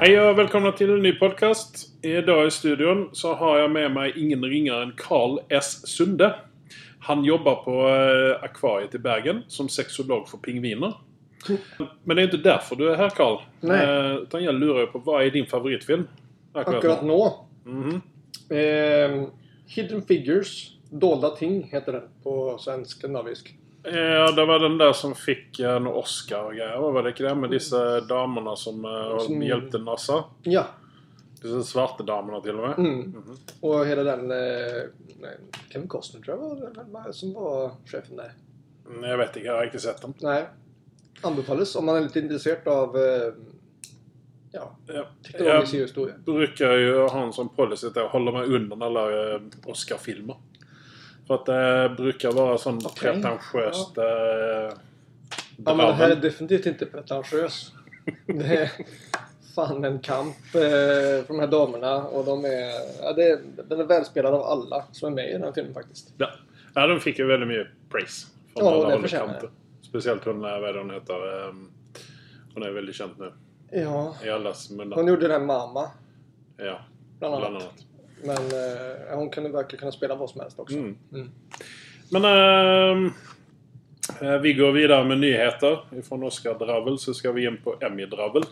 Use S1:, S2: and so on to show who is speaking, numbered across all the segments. S1: Hej och välkomna till en ny podcast. Idag i studion så har jag med mig ingen ringare än Karl S. Sunde. Han jobbar på eh, Akvariet i Bergen som sexolog för pingviner. Men det är inte därför du är här Karl.
S2: Nej.
S1: Eh, utan jag lurar ju på vad är din favoritfilm?
S2: Akkurat nu.
S1: Mhm.
S2: Ehm, Hidden Figures, Dolda Ting heter den på svensk skandinavisk.
S1: Ja, det var den där som fick en Oscar och grejer. Vad var det? Det med dessa damerna som, eh,
S2: Som-
S1: hjälpte Nassa.
S2: Ja,
S1: Dessa svarta damerna till och med.
S2: mm.
S1: Mhm.
S2: och hela den... Eh, nej, Kevin Costner tror jag var, den- var, som var chefen där.
S1: Mm, Jag vet inte, jag har inte sett den.
S2: Nej. Anbefalles om man är lite intresserad av eh, ja,
S1: Ja.
S2: teknologisk historia.
S1: brukar ju ha en sån policy att jag håller mig undan alla eh, Oscar-filmer. För att det brukar vara sån
S2: Okej.
S1: pretentiöst... Eh,
S2: Ja, men det här är
S1: dravel.
S2: definitivt inte pretentiöst. Det är fan en kamp eh, för de här damerna och de är... Ja, det, den är välspelad av alla som är med i den här filmen faktiskt.
S1: ja. ja, de fick ju väldigt mycket praise. från
S2: Ja,
S1: alla
S2: och det
S1: håll och
S2: förtjänar
S1: kanter. Speciellt hon, eh, vad är det hon heter? Eh, Hon är väldigt känd nu.
S2: Ja.
S1: I allas munnar.
S2: Hon gjorde den här Mamma,
S1: Ja,
S2: bland
S1: bland
S2: annat.
S1: annat.
S2: Men eh, hon kunde verkligen kunna spela vad som helst också.
S1: Mm.
S2: Mm.
S1: Men ehm, eh, vi går vidare med nyheter. Ifrån Oscar-dravel så ska vi in på Emmy-dravel.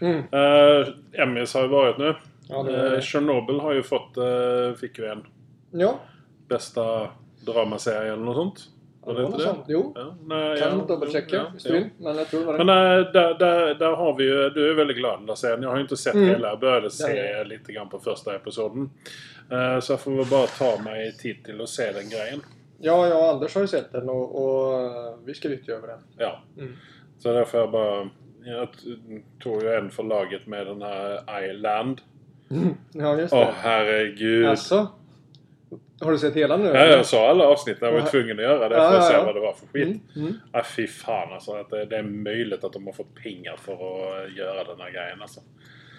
S2: Mm.
S1: Eh, Emmys har ju varit nu.
S2: Ja, det var
S1: Eh,
S2: det.
S1: Chernobyl har ju fått, eh, fick ju en
S2: Ja,
S1: bästa dramaserie eller något sånt.
S2: det
S1: Var
S2: var
S1: det
S2: något
S1: inte det?
S2: sånt. Jo,
S1: Ja, nej,
S2: kan
S1: ja, ja,
S2: dubbelchecka visst du
S1: ja.
S2: vill. Men jag tror det var det.
S1: Men eh, där, där, där har vi ju, du är väldigt glad där sen. Jag har ju inte sett
S2: Mm.
S1: hela, jag började se
S2: Ja,
S1: lite grann på första episoden. Eh, Så jag får väl bara ta mig tid till och se den grejen.
S2: Ja, jag och Anders har ju sett den och, och eh, vi skryter ju över den.
S1: Ja.
S2: Mm.
S1: Så därför jag bara... Jag t- tog ju en för laget med den här Island.
S2: Ja, just
S1: Åh
S2: det.
S1: herregud.
S2: Alltså, har du sett hela nu?
S1: Ja, jag sa alla avsnitt. Jag var
S2: Ja.
S1: tvungen att göra det
S2: Ja,
S1: för att
S2: ja,
S1: se
S2: ja.
S1: vad det var för skit.
S2: Mm. Mm.
S1: Ah, fy fan alltså. Att det, det är möjligt att de har fått pengar för att eh, göra den här grejen alltså.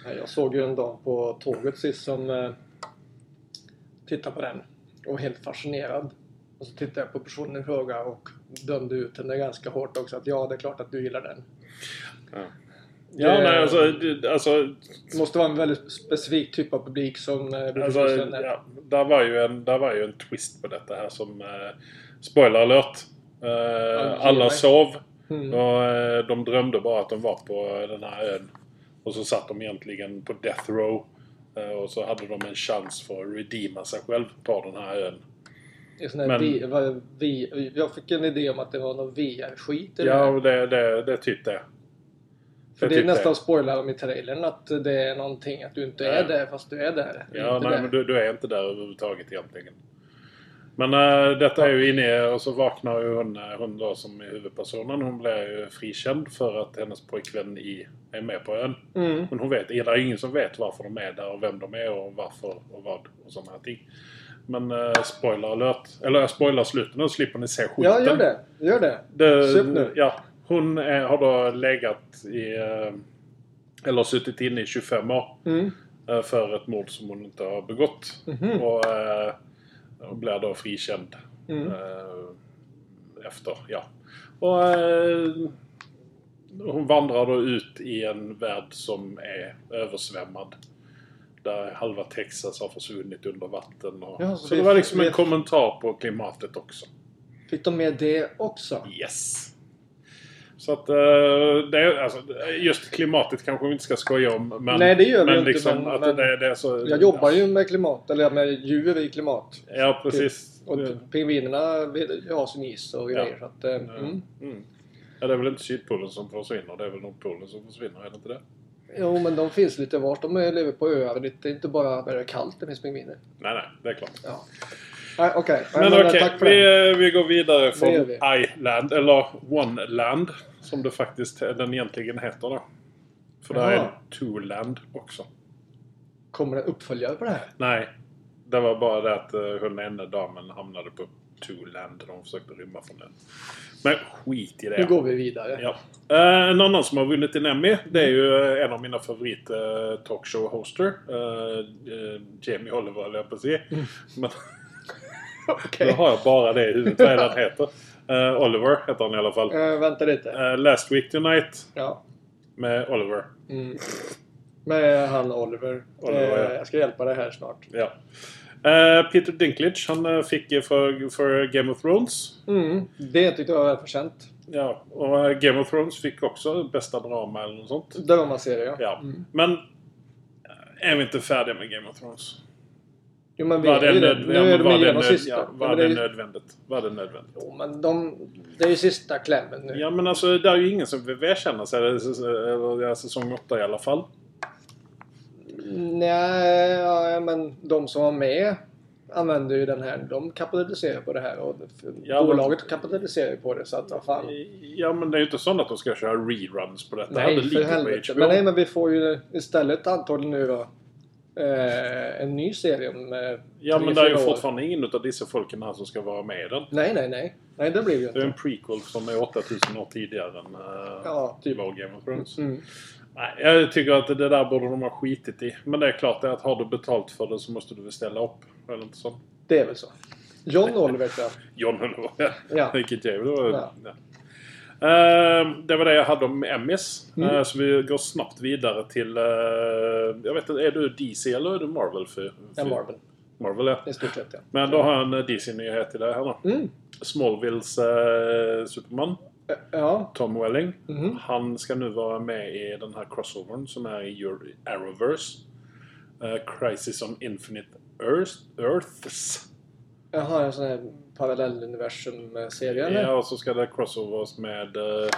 S2: Nej, Jag såg ju en dam på tåget sist som eh, tittade på den och var helt fascinerad. Och så tittade jag på personen i fråga och dömde ut henne ganska hårt också att ja, det är klart att du gillar den.
S1: Ja. Ja,
S2: Det-
S1: nej, alltså, det, alltså,
S2: Det måste vara en väldigt specifik typ av publik som eh, blir
S1: alltså
S2: förtjust i den.
S1: ja, där, var ju en, där var ju en twist på detta här som... Eh, spoiler alert!
S2: ge
S1: Eh, alla
S2: mig.
S1: sov
S2: Mm.
S1: och eh, de drömde bara att de var på den här ön. Och så satt de egentligen på Death Row. Eh, och så hade de en chans för att redeema sig själv på den här ön.
S2: Det är sån här
S1: men-
S2: vi, vad- vi, jag fick en idé om att det var någon VR-skit i det
S1: Ja,
S2: här.
S1: och det, det, det är typ det.
S2: För
S1: jag
S2: det är
S1: tyckte-
S2: nästan spoilar om i trailern att det är någonting att du inte
S1: Ja.
S2: är där fast du är där.
S1: Ja,
S2: Inte
S1: nej,
S2: där.
S1: men du, du är inte där överhuvudtaget egentligen. Men äh, detta är ju inne och så vaknar ju hon, eh, hon då som är huvudpersonen. Hon blir ju frikänd för att hennes pojkvän i, är med på ön.
S2: Mm.
S1: Men hon vet, det är ingen som vet varför de är där och vem de är och varför och vad och sådana här ting. Men eh, spoiler alert. Eller jag spoilar slutet nu så slipper ni se skiten.
S2: Ja, gör det. Gör det.
S1: Det-
S2: Sup nu.
S1: Ja, hon är, har då legat i... eh, Eller suttit inne i 25 år.
S2: Mm.
S1: eh, För ett mord som hon inte har begått.
S2: Mhm.
S1: Och, eh, och blir då frikänd
S2: Mm.
S1: eh, efter. Ja. Och, eh, hon vandrar då ut i en värld som är översvämmad. Där halva Texas har försvunnit under vatten. Och,
S2: Ja,
S1: så,
S2: så
S1: det
S2: vi-
S1: var liksom
S2: vi-
S1: en kommentar på klimatet också.
S2: Fick de med det också?
S1: Yes! Så att eh, det är, alltså, just klimatet kanske vi inte ska skoja om. Men,
S2: Nej, det gör vi
S1: men
S2: inte,
S1: liksom
S2: men-
S1: att
S2: men-
S1: det, det är så...
S2: Jag jobbar ju med klimat, eller med djur i klimat.
S1: Ja, precis.
S2: Typ. Och pingvinerna vill ju ha sin is och grejer. Så att, eh, mm.
S1: Mm. Ja, det är väl inte Sydpolen som försvinner, det är väl Nordpolen som försvinner, är det inte det?
S2: Jo, men de finns lite vart. De är- lever på öar. Det är inte bara när det är kallt det finns pingviner.
S1: Nej, nej, det är klart.
S2: Ja. Nej, Okej, Nej,
S1: Men
S2: men, eh,
S1: okej,
S2: tack för det.
S1: vi, eh, vi går vidare från
S2: gör vi.
S1: Island, eller One Land, som det faktiskt eh, den egentligen heter då. För det här är
S2: Jaha.
S1: en Two Land också.
S2: Kommer det en uppföljare på det här?
S1: Nej, det var bara det att eh, hon ena damen hamnade på Two Land och hon försökte rymma från den. Men skit i det.
S2: Nu går vi vidare.
S1: Ja. Eh, en annan som har vunnit en Emmy, E, det är ju eh, en av mina favorit eh, talkshow-hoster. Eh, eh, Jamie Oliver höll jag på att säga. Men
S2: Okej.
S1: nu Mm. har jag bara det i huvudet, vad är det han heter? Eh, Oliver heter han i alla fall.
S2: Eh, vänta lite.
S1: Eh, Last Week Tonight
S2: Ja.
S1: med Oliver.
S2: Mm. Med han Oliver.
S1: Oliver,
S2: eh,
S1: ja.
S2: Jag ska hjälpa dig här snart.
S1: Ja. Eh, Peter Dinklage, han eh, fick eh, för, för Game of Thrones.
S2: Mm, det tyckte jag var välförtjänt.
S1: Ja, och eh, Game of Thrones fick också bästa drama eller något sånt.
S2: Det var man ser det ja.
S1: Ja.
S2: Mm.
S1: Men eh, är vi inte färdiga med Game of Thrones?
S2: Jo men vi
S1: Var
S2: är
S1: det,
S2: ju det.
S1: nöd-
S2: Nu
S1: ja,
S2: är
S1: men
S2: de
S1: var det,
S2: igenom
S1: nöd-
S2: sista.
S1: ja,
S2: Ja,
S1: var
S2: men
S1: det
S2: det, är-
S1: nödvändigt? Var det nödvändigt?
S2: jo men de... Det är ju sista klämmen nu.
S1: Ja men alltså det är ju ingen som vill erkänna sig. Eller, eller, ja, säsong 8 i alla fall.
S2: Nej, ja, men de som var med använder ju den här. De kapitaliserar på det här och
S1: Ja, men-
S2: bolaget kapitaliserar ju på det så att vad fan.
S1: Ja men det är ju inte så att de ska köra reruns på detta. det
S2: Nej, för
S1: ligger på
S2: helvete.
S1: HBO.
S2: Men, nej, men vi får ju istället antagligen nu då eh, en ny serie om... Eh,
S1: ja men
S2: tre,
S1: det är ju
S2: fyra år.
S1: fortfarande ingen utav dessa folken här som ska vara med i den.
S2: Nej, nej, nej. Nej, det blir ju
S1: Det är en
S2: inte.
S1: prequel som är 8000 år tidigare än uh,
S2: Ja.
S1: typ av Game of Thrones.
S2: Mm.
S1: Nej, jag tycker att det där borde de ha skitit i. Men det är klart det är att har du betalt för det så måste du väl ställa upp. Eller inte så.
S2: Det är väl så. John Oliver tror jag.
S1: John Hulva.
S2: Ja.
S1: Vilket jävel det var.
S2: Ja.
S1: Ja. Eh, det var det jag hade om Emmys.
S2: Mm.
S1: Eh, så vi går snabbt vidare till... eh, jag vet inte, är du DC eller är du Marvel? För, för
S2: En Marvel.
S1: Marvel, ja.
S2: I stort sett ja.
S1: Men då har jag en eh, DC-nyhet till dig här då.
S2: Mm.
S1: Smallvilles eh, Superman,
S2: Ä- Ja.
S1: Tom Welling.
S2: Mhm.
S1: Han ska nu vara med i den här crossovern som är i Euro- Arrowverse. Eh, Crisis on Infinite Earth, Earths.
S2: Jaha, en sån här parallelluniversum-serie eller?
S1: Ja, och så ska det crossovers med eh,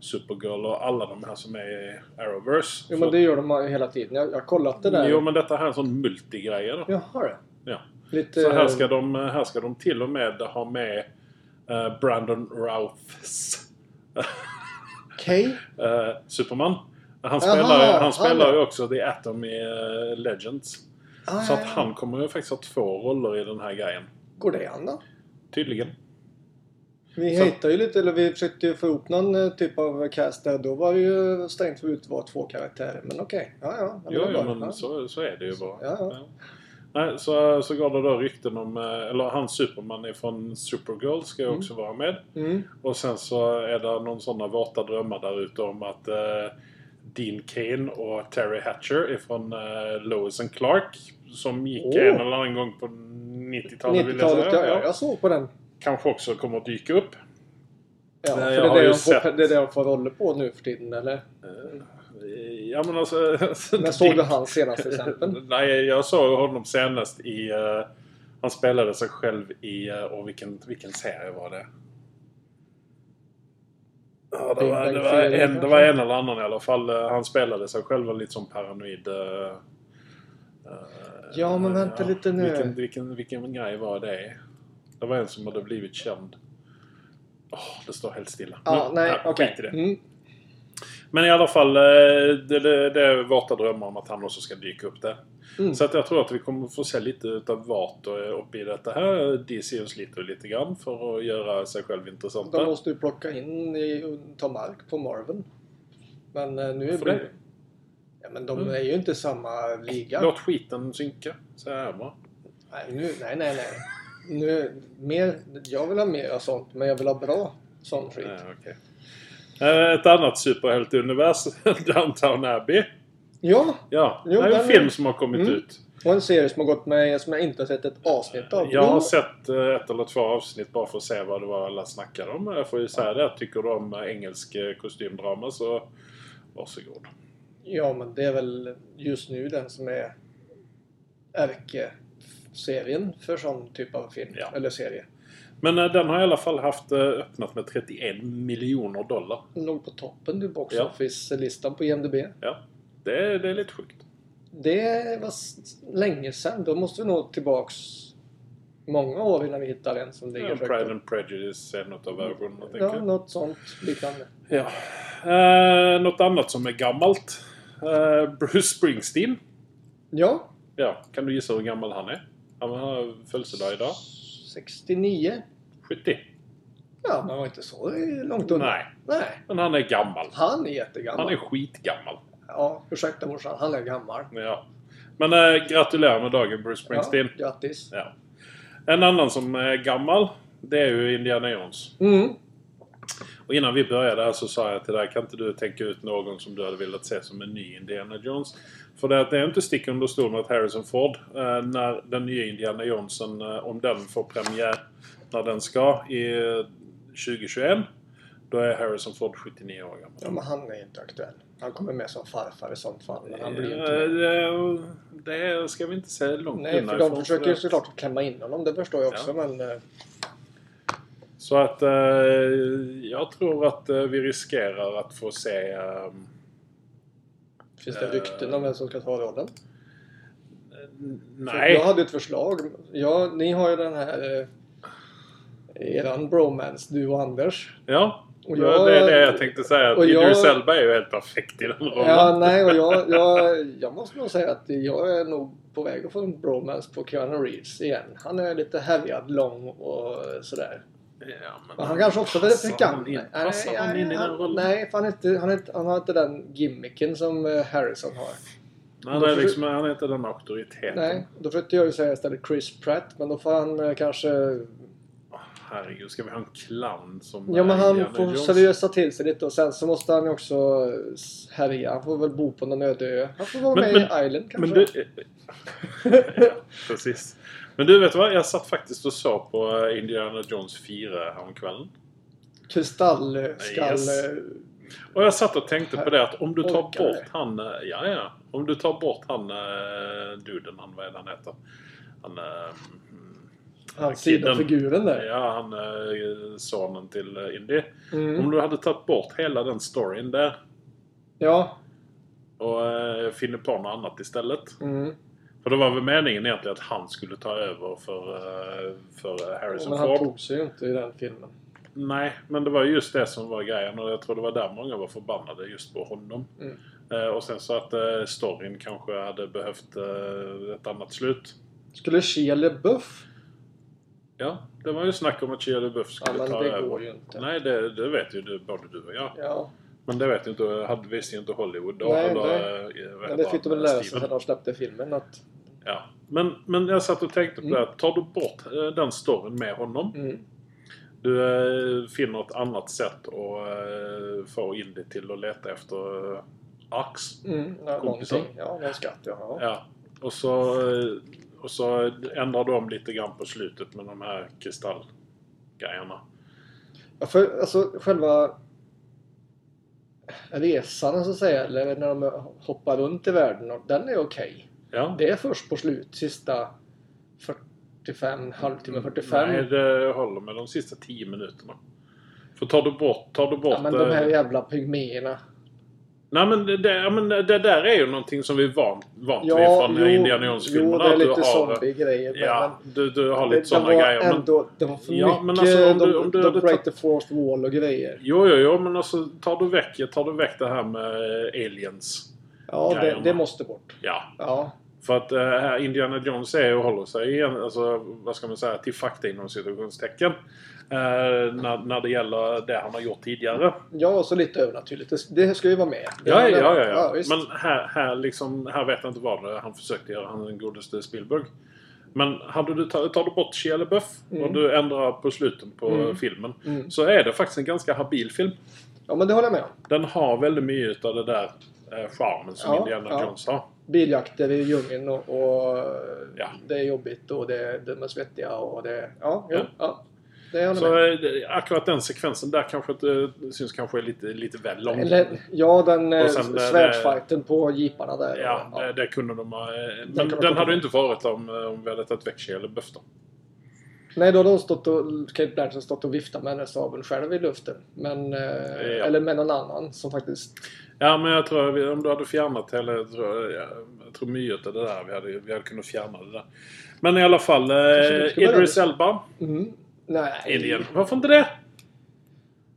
S1: Supergirl och alla de här som är i Arrowverse.
S2: Jo, men det gör de ju hela tiden. Jag jag har kollat det där.
S1: Jo, men detta här är en sån multigrej. då.
S2: Jaha, det.
S1: Ja.
S2: Lite... eh,
S1: Så här ska, de, eh, här ska de till och med ha med eh, Brandon Rouths
S2: Okej.
S1: eh, Superman. Han
S2: Jaha,
S1: spelar, han
S2: han
S1: spelar ju
S2: är-
S1: också The Atom i eh, Legends.
S2: Ah,
S1: Så att
S2: ja, ja.
S1: han kommer ju faktiskt ha två roller i den här grejen.
S2: Går det an då?
S1: Tydligen.
S2: Vi
S1: Så-
S2: hejtade ju lite, eller vi försökte ju få ihop någon eh, typ av cast där. Då var det ju strängt förbjudet att vara två karaktärer. Men okej. Ja, ja. Ja,
S1: Jo,
S2: det var
S1: jo
S2: bra.
S1: men
S2: Ja.
S1: så, så är det ju bara.
S2: Ja, ja.
S1: Nej, så, så går det då rykten om, eh, eller han Superman från Supergirl ska ju också vara med.
S2: Mm.
S1: Och sen så är det någon sådana våta drömmar där ute om att eh, Dean Kane och Terry Hatcher ifrån eh, Lois and Clark som gick
S2: Åh.
S1: en eller annan gång på 90-talet vill jag
S2: 90-talet,
S1: säga.
S2: ja,
S1: Ja.
S2: ja. Jag såg på den.
S1: Kanske också kommer att dyka upp.
S2: Ja,
S1: Nej, jag
S2: för det
S1: har
S2: är, det,
S1: ju
S2: de får,
S1: sett-
S2: det är det de får roller på nu för tiden, eller?
S1: Eh, Ja men alltså...
S2: När såg du han senast till exempel?
S1: Nej, jag såg honom senast i... eh, han spelade sig själv i... eh, och vilken, vilken serie var det? Ja, det,
S2: Big
S1: var,
S2: Bang
S1: det, var
S2: Theory,
S1: en, det
S2: kanske?
S1: var en eller annan i alla fall. Eh, Han spelade sig själv lite som paranoid... eh, eh,
S2: Ja, men vänta lite nu.
S1: Vilken, vilken, vilken grej var det? Det var en som hade blivit känd. Åh, det står helt stilla.
S2: Ja,
S1: Nu-
S2: nej, okej.
S1: skit i det.
S2: Mm.
S1: Men i alla fall, eh, det, det, det är våta drömmar om att han också ska dyka upp där.
S2: Mm.
S1: Så att jag tror att vi kommer få se lite utav vart och eh, upp i detta här. DC och sliter lite grann för att göra sig själv intressanta.
S2: De måste ju plocka in i, ta mark på Marvel. Men eh, nu
S1: Varför
S2: blir
S1: det?
S2: det... Ja, men de
S1: Mm.
S2: är ju inte samma liga.
S1: Låt skiten synka, säger jag bara.
S2: Nej, nu, nej, nej. nej. Nu, mer, jag vill ha mer av sånt, men jag vill ha bra sån skit.
S1: Eh, okej. Eh, Ett annat superhjälteunivers, Downtown Abbey.
S2: Ja,
S1: Ja,
S2: Jo,
S1: det är en
S2: den-
S1: film som har kommit
S2: Mm.
S1: ut.
S2: och en serie som har gått med som jag inte har sett ett avsnitt av.
S1: Jag har
S2: Jo,
S1: sett eh, ett eller två avsnitt bara för att se vad det var alla snackade om. Jag får ju säga det, tycker du om eh, engelsk eh, kostymdrama så varsågod.
S2: Ja, men det är väl just nu den som är ärkeserien för sån typ av film,
S1: Ja.
S2: eller serie.
S1: Men eh, den har i alla fall haft eh, öppnat med 31 miljoner dollar.
S2: Den låg på toppen i box
S1: Ja.
S2: office-listan på IMDB.
S1: Ja, det är, det är lite sjukt.
S2: Det var s- länge sedan. Då måste vi nog tillbaks många år innan vi hittar en som ligger
S1: Ja,
S2: högt
S1: Pride
S2: upp.
S1: and Prejudice är något av versionerna, tänker
S2: Ja,
S1: jag.
S2: något sånt liknande.
S1: Ja. Eh, något annat som är gammalt. Eh, Bruce Springsteen.
S2: Ja,
S1: Ja, kan du gissa hur gammal han är? Han har födelsedag idag.
S2: 69.
S1: 70.
S2: Ja, man var inte så långt undan.
S1: Nej,
S2: Nej.
S1: men han är gammal.
S2: Han är jättegammal.
S1: Han är skitgammal.
S2: Ja, ursäkta morsan. Han är gammal.
S1: Ja. Men eh, gratulerar med dagen Bruce Springsteen.
S2: Ja, grattis.
S1: Ja. En annan som är gammal, det är ju Indiana Jones.
S2: Mm.
S1: Och innan vi började här så sa jag till dig, kan inte du tänka ut någon som du hade velat se som en ny Indiana Jones? För det, det är inte stick under stol med att Harrison Ford, eh, när den nya Indiana Jonesen, eh, om den får premiär när den ska i eh, 2021, då är Harrison Ford 79 år gammal.
S2: Ja, men han är inte aktuell. Han kommer med som farfar i sånt fall. Men han blir inte
S1: Eh, Det, det ska vi inte säga långt
S2: Nej,
S1: undan
S2: för de
S1: ifrån,
S2: försöker
S1: det-
S2: ju såklart klämma in honom. Det förstår jag också. Men eh,
S1: Så att eh, jag tror att eh, vi riskerar att få se... Eh,
S2: finns det
S1: Eh.
S2: rykten om vem som ska ta rollen? För Jag
S1: nej.
S2: hade ett förslag. Ja, ni har ju den här... Eh, eran bromance, du och Anders.
S1: Ja,
S2: Och
S1: det är det jag tänkte säga.
S2: och
S1: Att
S2: jag-
S1: Idris Elba är ju helt perfekt i den rollen.
S2: Ja, nej, och jag, jag, jag måste nog säga att jag är nog på väg att få en bromance på Keanu Reeves igen. Han är lite härjad, lång och sådär.
S1: Ja,
S2: Men han kanske också är väldigt
S1: passar
S2: pikant.
S1: han in- Passar han in i den rollen? Nej,
S2: Nej, för han, är inte, han, är inte, han har inte den gimmicken som eh, Harrison har.
S1: han är, liksom, han är inte den auktoriteten.
S2: Nej, då försökte jag ju säga istället Chris Pratt, men då får han eh, kanske...
S1: Åh, herregud, ska vi ha en clown som...
S2: Ja, men
S1: är
S2: han
S1: Indiana
S2: får
S1: Jones?
S2: seriösa till sig lite och sen så måste han ju också eh, härja. Han får väl bo på någon öde ö. Han får vara
S1: Men-
S2: med
S1: men-
S2: i Island kanske.
S1: Men du... ja, precis. Men du, vet du vad? Jag satt faktiskt och såg på eh, Indiana Jones 4 häromkvällen.
S2: Kristallskall...
S1: Yes.
S2: eh,
S1: Och jag satt och tänkte på det att om du tar
S2: Orkar
S1: bort
S2: det.
S1: han... eh, Ja, ja. Om du tar bort han... eh, Duden, han vad är det han heter? Han... eh,
S2: Han
S1: Kidden.
S2: sidofiguren där.
S1: Ja, han... eh, Sonen till eh, Indy. Om
S2: Mm.
S1: du hade tagit bort hela den storyn där
S2: Ja.
S1: och eh, finner på något annat istället.
S2: Mm.
S1: För det var väl meningen egentligen att han skulle ta över för, eh, för eh, Harrison
S2: Men han
S1: Ford.
S2: tog sig ju inte i den filmen.
S1: Nej, men det var just det som var grejen och jag tror det var där många var förbannade just på honom.
S2: Mm.
S1: Eh, och sen så att eh, storyn kanske hade behövt eh, ett annat slut.
S2: Skulle Shia LaBeouf?
S1: Ja, det var ju snack om att Shia LaBeouf
S2: Ja,
S1: skulle
S2: men
S1: ta
S2: det
S1: över.
S2: går ju inte.
S1: Nej, det, det vet ju du, både du och jag.
S2: Ja,
S1: Men det vet ju inte, hade visste ju inte Hollywood då.
S2: Nej,
S1: eller,
S2: nej.
S1: eh, vad
S2: men
S1: heter
S2: det fick de
S1: han?
S2: väl lära sig
S1: Steven.
S2: när de släppte filmen att...
S1: Ja. Men, men jag satt och tänkte på
S2: Mm.
S1: det här. Tar du bort eh, den storyn med honom.
S2: Mm.
S1: Du eh, finner ett annat sätt att eh, få in det till att leta efter eh, ax.
S2: Mm. Ja,
S1: Kompisar.
S2: någonting. Ja, någon skatt ja. ja.
S1: Ja. Och så, eh, och så ändrar de lite grann på slutet med de här kristallgrejerna.
S2: ja för, alltså själva resan så att säga, eller när de hoppar runt i världen, och den är okej.
S1: Ja.
S2: Det är först på slut, sista 45, halvtimme 45.
S1: Mm, Nej, det håller med de sista 10 minuterna. För tar du bort... Tar du bort
S2: ja, men de här
S1: eh,
S2: jävla pygméerna.
S1: Nej men det, det, ja, men det det där är ju någonting som vi är vant, vant vid från
S2: jo,
S1: Indiana Jones-filmerna.
S2: Jo, det är
S1: att du
S2: lite
S1: har- eh,
S2: zombie-grejer. men-
S1: Ja, du, du har
S2: men
S1: lite
S2: det
S1: sådana
S2: var
S1: grejer. Men,
S2: Ändå, det var för
S1: Ja,
S2: mycket.
S1: men alltså, om du-
S2: de,
S1: om du
S2: de
S1: hade
S2: break
S1: tagit-
S2: the fourth wall och grejer.
S1: jo, jo, jo, men alltså tar du väck, tar du väck det här med eh, aliens.
S2: Ja, det,
S1: Grejerna.
S2: det måste bort.
S1: Ja.
S2: Ja.
S1: För att eh, här Indiana Jones är och håller sig i en, alltså, vad ska man säga, till fakta inom situationstecken. Eh, när, när det gäller det han har gjort tidigare.
S2: ja, och så lite övernaturligt. Det- Det ska ju vara med. Det
S1: Ja, ja,
S2: hade-
S1: ja. ja,
S2: visst.
S1: Men här, här, liksom, här vet jag inte vad det, han försökte göra. Han är den godaste Spielberg. Men hade du, ta- tar du bort Shia LaBeouf och
S2: Mm.
S1: du ändrar på slutet på
S2: Mm.
S1: filmen.
S2: Mm.
S1: Så är det faktiskt en ganska habil film.
S2: ja, men det håller jag med om.
S1: Den har väldigt mycket av det där eh, charmen som
S2: Ja,
S1: Indiana
S2: ja.
S1: Jones har.
S2: Biljakter i djungeln och, och
S1: Ja.
S2: det är jobbigt och det, de är svettiga och det... Ja, ja.
S1: Ja.
S2: ja. Det håller jag
S1: Så
S2: med.
S1: eh, det- akkurat den sekvensen där kanske att det syns kanske är lite, lite väl lång.
S2: Eller, ja, den eh,
S1: Och sen det-
S2: svärdsfighten på jeeparna där.
S1: ja,
S2: Och-
S1: Det, det kunde de ha. eh,
S2: kan
S1: Men
S2: man
S1: den
S2: ta
S1: hade
S2: bort.
S1: ju inte varit om, eh, om vi hade tagit väck Shia LaBeouf då.
S2: Nej, då har de stått och, Kate Blanchett stått och viftat med hennes sabel själv i luften. Men, eh, Eller med någon annan som faktiskt...
S1: Ja, men jag tror vi- om du hade fjärnat hela... Jag tror, jag, jag tror mycket av det där. Vi hade, vi hade kunnat fjärna det där. Men i alla fall.
S2: Kanske
S1: Eh,
S2: vi ska börja
S1: Idris Elba.
S2: Mm, nej.
S1: Alien. Varför inte det?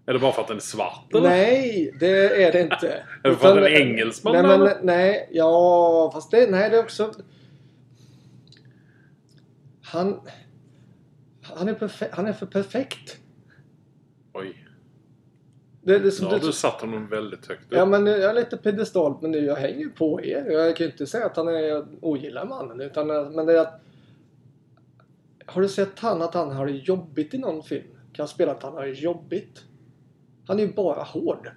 S1: Är det bara för att den är svart eller?
S2: Nej, det är det inte.
S1: Är det för att den är engelsman,
S2: Nej, men,
S1: eller?
S2: nej, ja, fast det, nej, det är också... Han... Han är, perfe- han är för perfekt.
S1: Oj.
S2: Det, det, är
S1: Nu
S2: som
S1: har
S2: du,
S1: du satt honom väldigt högt upp.
S2: ja, men jag är lite pedestal, men nu, jag hänger ju på er. Jag kan ju inte säga att han är, jag ogillar mannen, utan, men det är att... Har du sett han att han har det jobbigt i någon film? Kan spela att han har det jobbigt? Han är ju bara hård.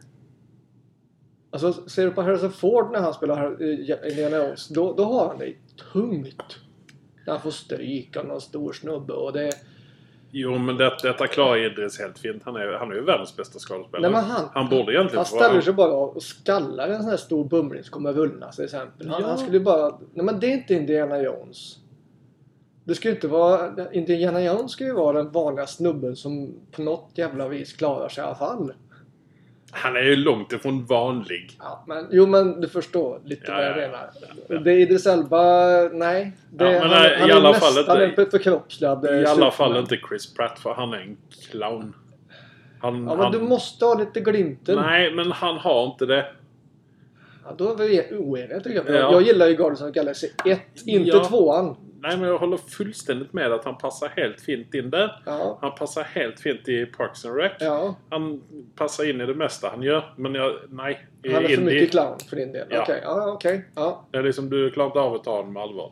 S2: Alltså, ser du på Harrison Ford när han spelar Har- eh, Indiana Jones, då, då har han det tungt. När han får stryk av någon stor snubbe och det...
S1: Jo, men det, detta klarar Idris helt fint. Han är, han är ju världens bästa skådespelare.
S2: Nej, men han-
S1: borde egentligen
S2: Han
S1: få vara...
S2: ställer sig bara och skallar en sån här stor bumling som kommer rullande till exempel. Han,
S1: Ja.
S2: han skulle ju bara... Nej men det är inte Indiana Jones. Det ska ju inte vara... Indiana Jones ska ju vara den vanliga snubben som på något jävla vis klarar sig i alla fall.
S1: Han är ju långt ifrån vanlig.
S2: Ja, men, jo men du förstår lite
S1: Ja,
S2: vad jag
S1: ja, ja.
S2: menar. Det är Idris Elba, nej. Det,
S1: Ja, men
S2: han,
S1: nej,
S2: han
S1: i
S2: är
S1: alla
S2: nästan
S1: fall inte-
S2: en förkroppsligad eh,
S1: I alla
S2: Superman.
S1: fall inte Chris Pratt, för han är en clown. Han,
S2: Ja, men
S1: han,
S2: du måste ha lite glimten.
S1: Nej, men han har inte det.
S2: Ja, då är vi oeniga tycker jag.
S1: Ja.
S2: Jag gillar ju Guardians of the Galaxy 1, inte
S1: Ja.
S2: 2an.
S1: Nej, men jag håller fullständigt med att han passar helt fint in där.
S2: Ja.
S1: Han passar helt fint i Parks and Rec.
S2: ja.
S1: Han passar in i det mesta han gör. Men jag, nej. i
S2: Han är för
S1: indie-
S2: mycket clown för din del.
S1: Eh, Ja.
S2: Okej, ja, okej. Ja.
S1: Det är liksom, du klarar inte av att ta honom med allvar.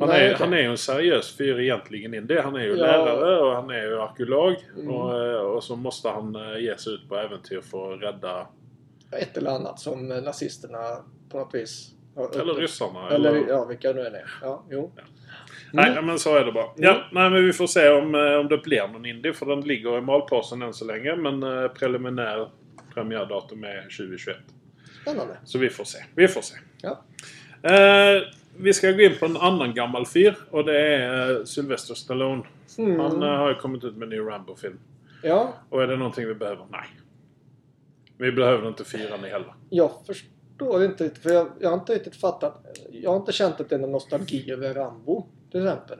S1: Han,
S2: Nej,
S1: är,
S2: okej.
S1: han är ju en seriös fyr egentligen in det. Han är ju
S2: Ja.
S1: lärare och han är ju arkeolog.
S2: Mm.
S1: Och, eh, och så måste han eh, ge sig ut på äventyr för att rädda...
S2: Ett eller annat som eh, nazisterna på något vis har
S1: Eller ryssarna.
S2: Eller ja, vilka det nu än är. Ja, jo.
S1: Nej,
S2: Mm.
S1: men så är det bara. Ja, nej, men vi får se om, eh, om det blir någon indie. För den ligger i malpåsen än så länge. Men eh, preliminär premiärdatum är 2021.
S2: Spännande.
S1: Så vi får se. Vi får se.
S2: Ja.
S1: Eh, vi ska gå in på en annan gammal fyr. Och det är eh, Sylvester Stallone.
S2: Mm.
S1: Han eh, har ju kommit ut med en ny Rambo-film.
S2: Ja,
S1: Och är det någonting vi behöver? Nej. Vi behöver inte fyra ni heller.
S2: jag förstår inte riktigt. För jag, jag har inte riktigt fattat. Jag har inte känt att det är någon nostalgi över Rambo till exempel.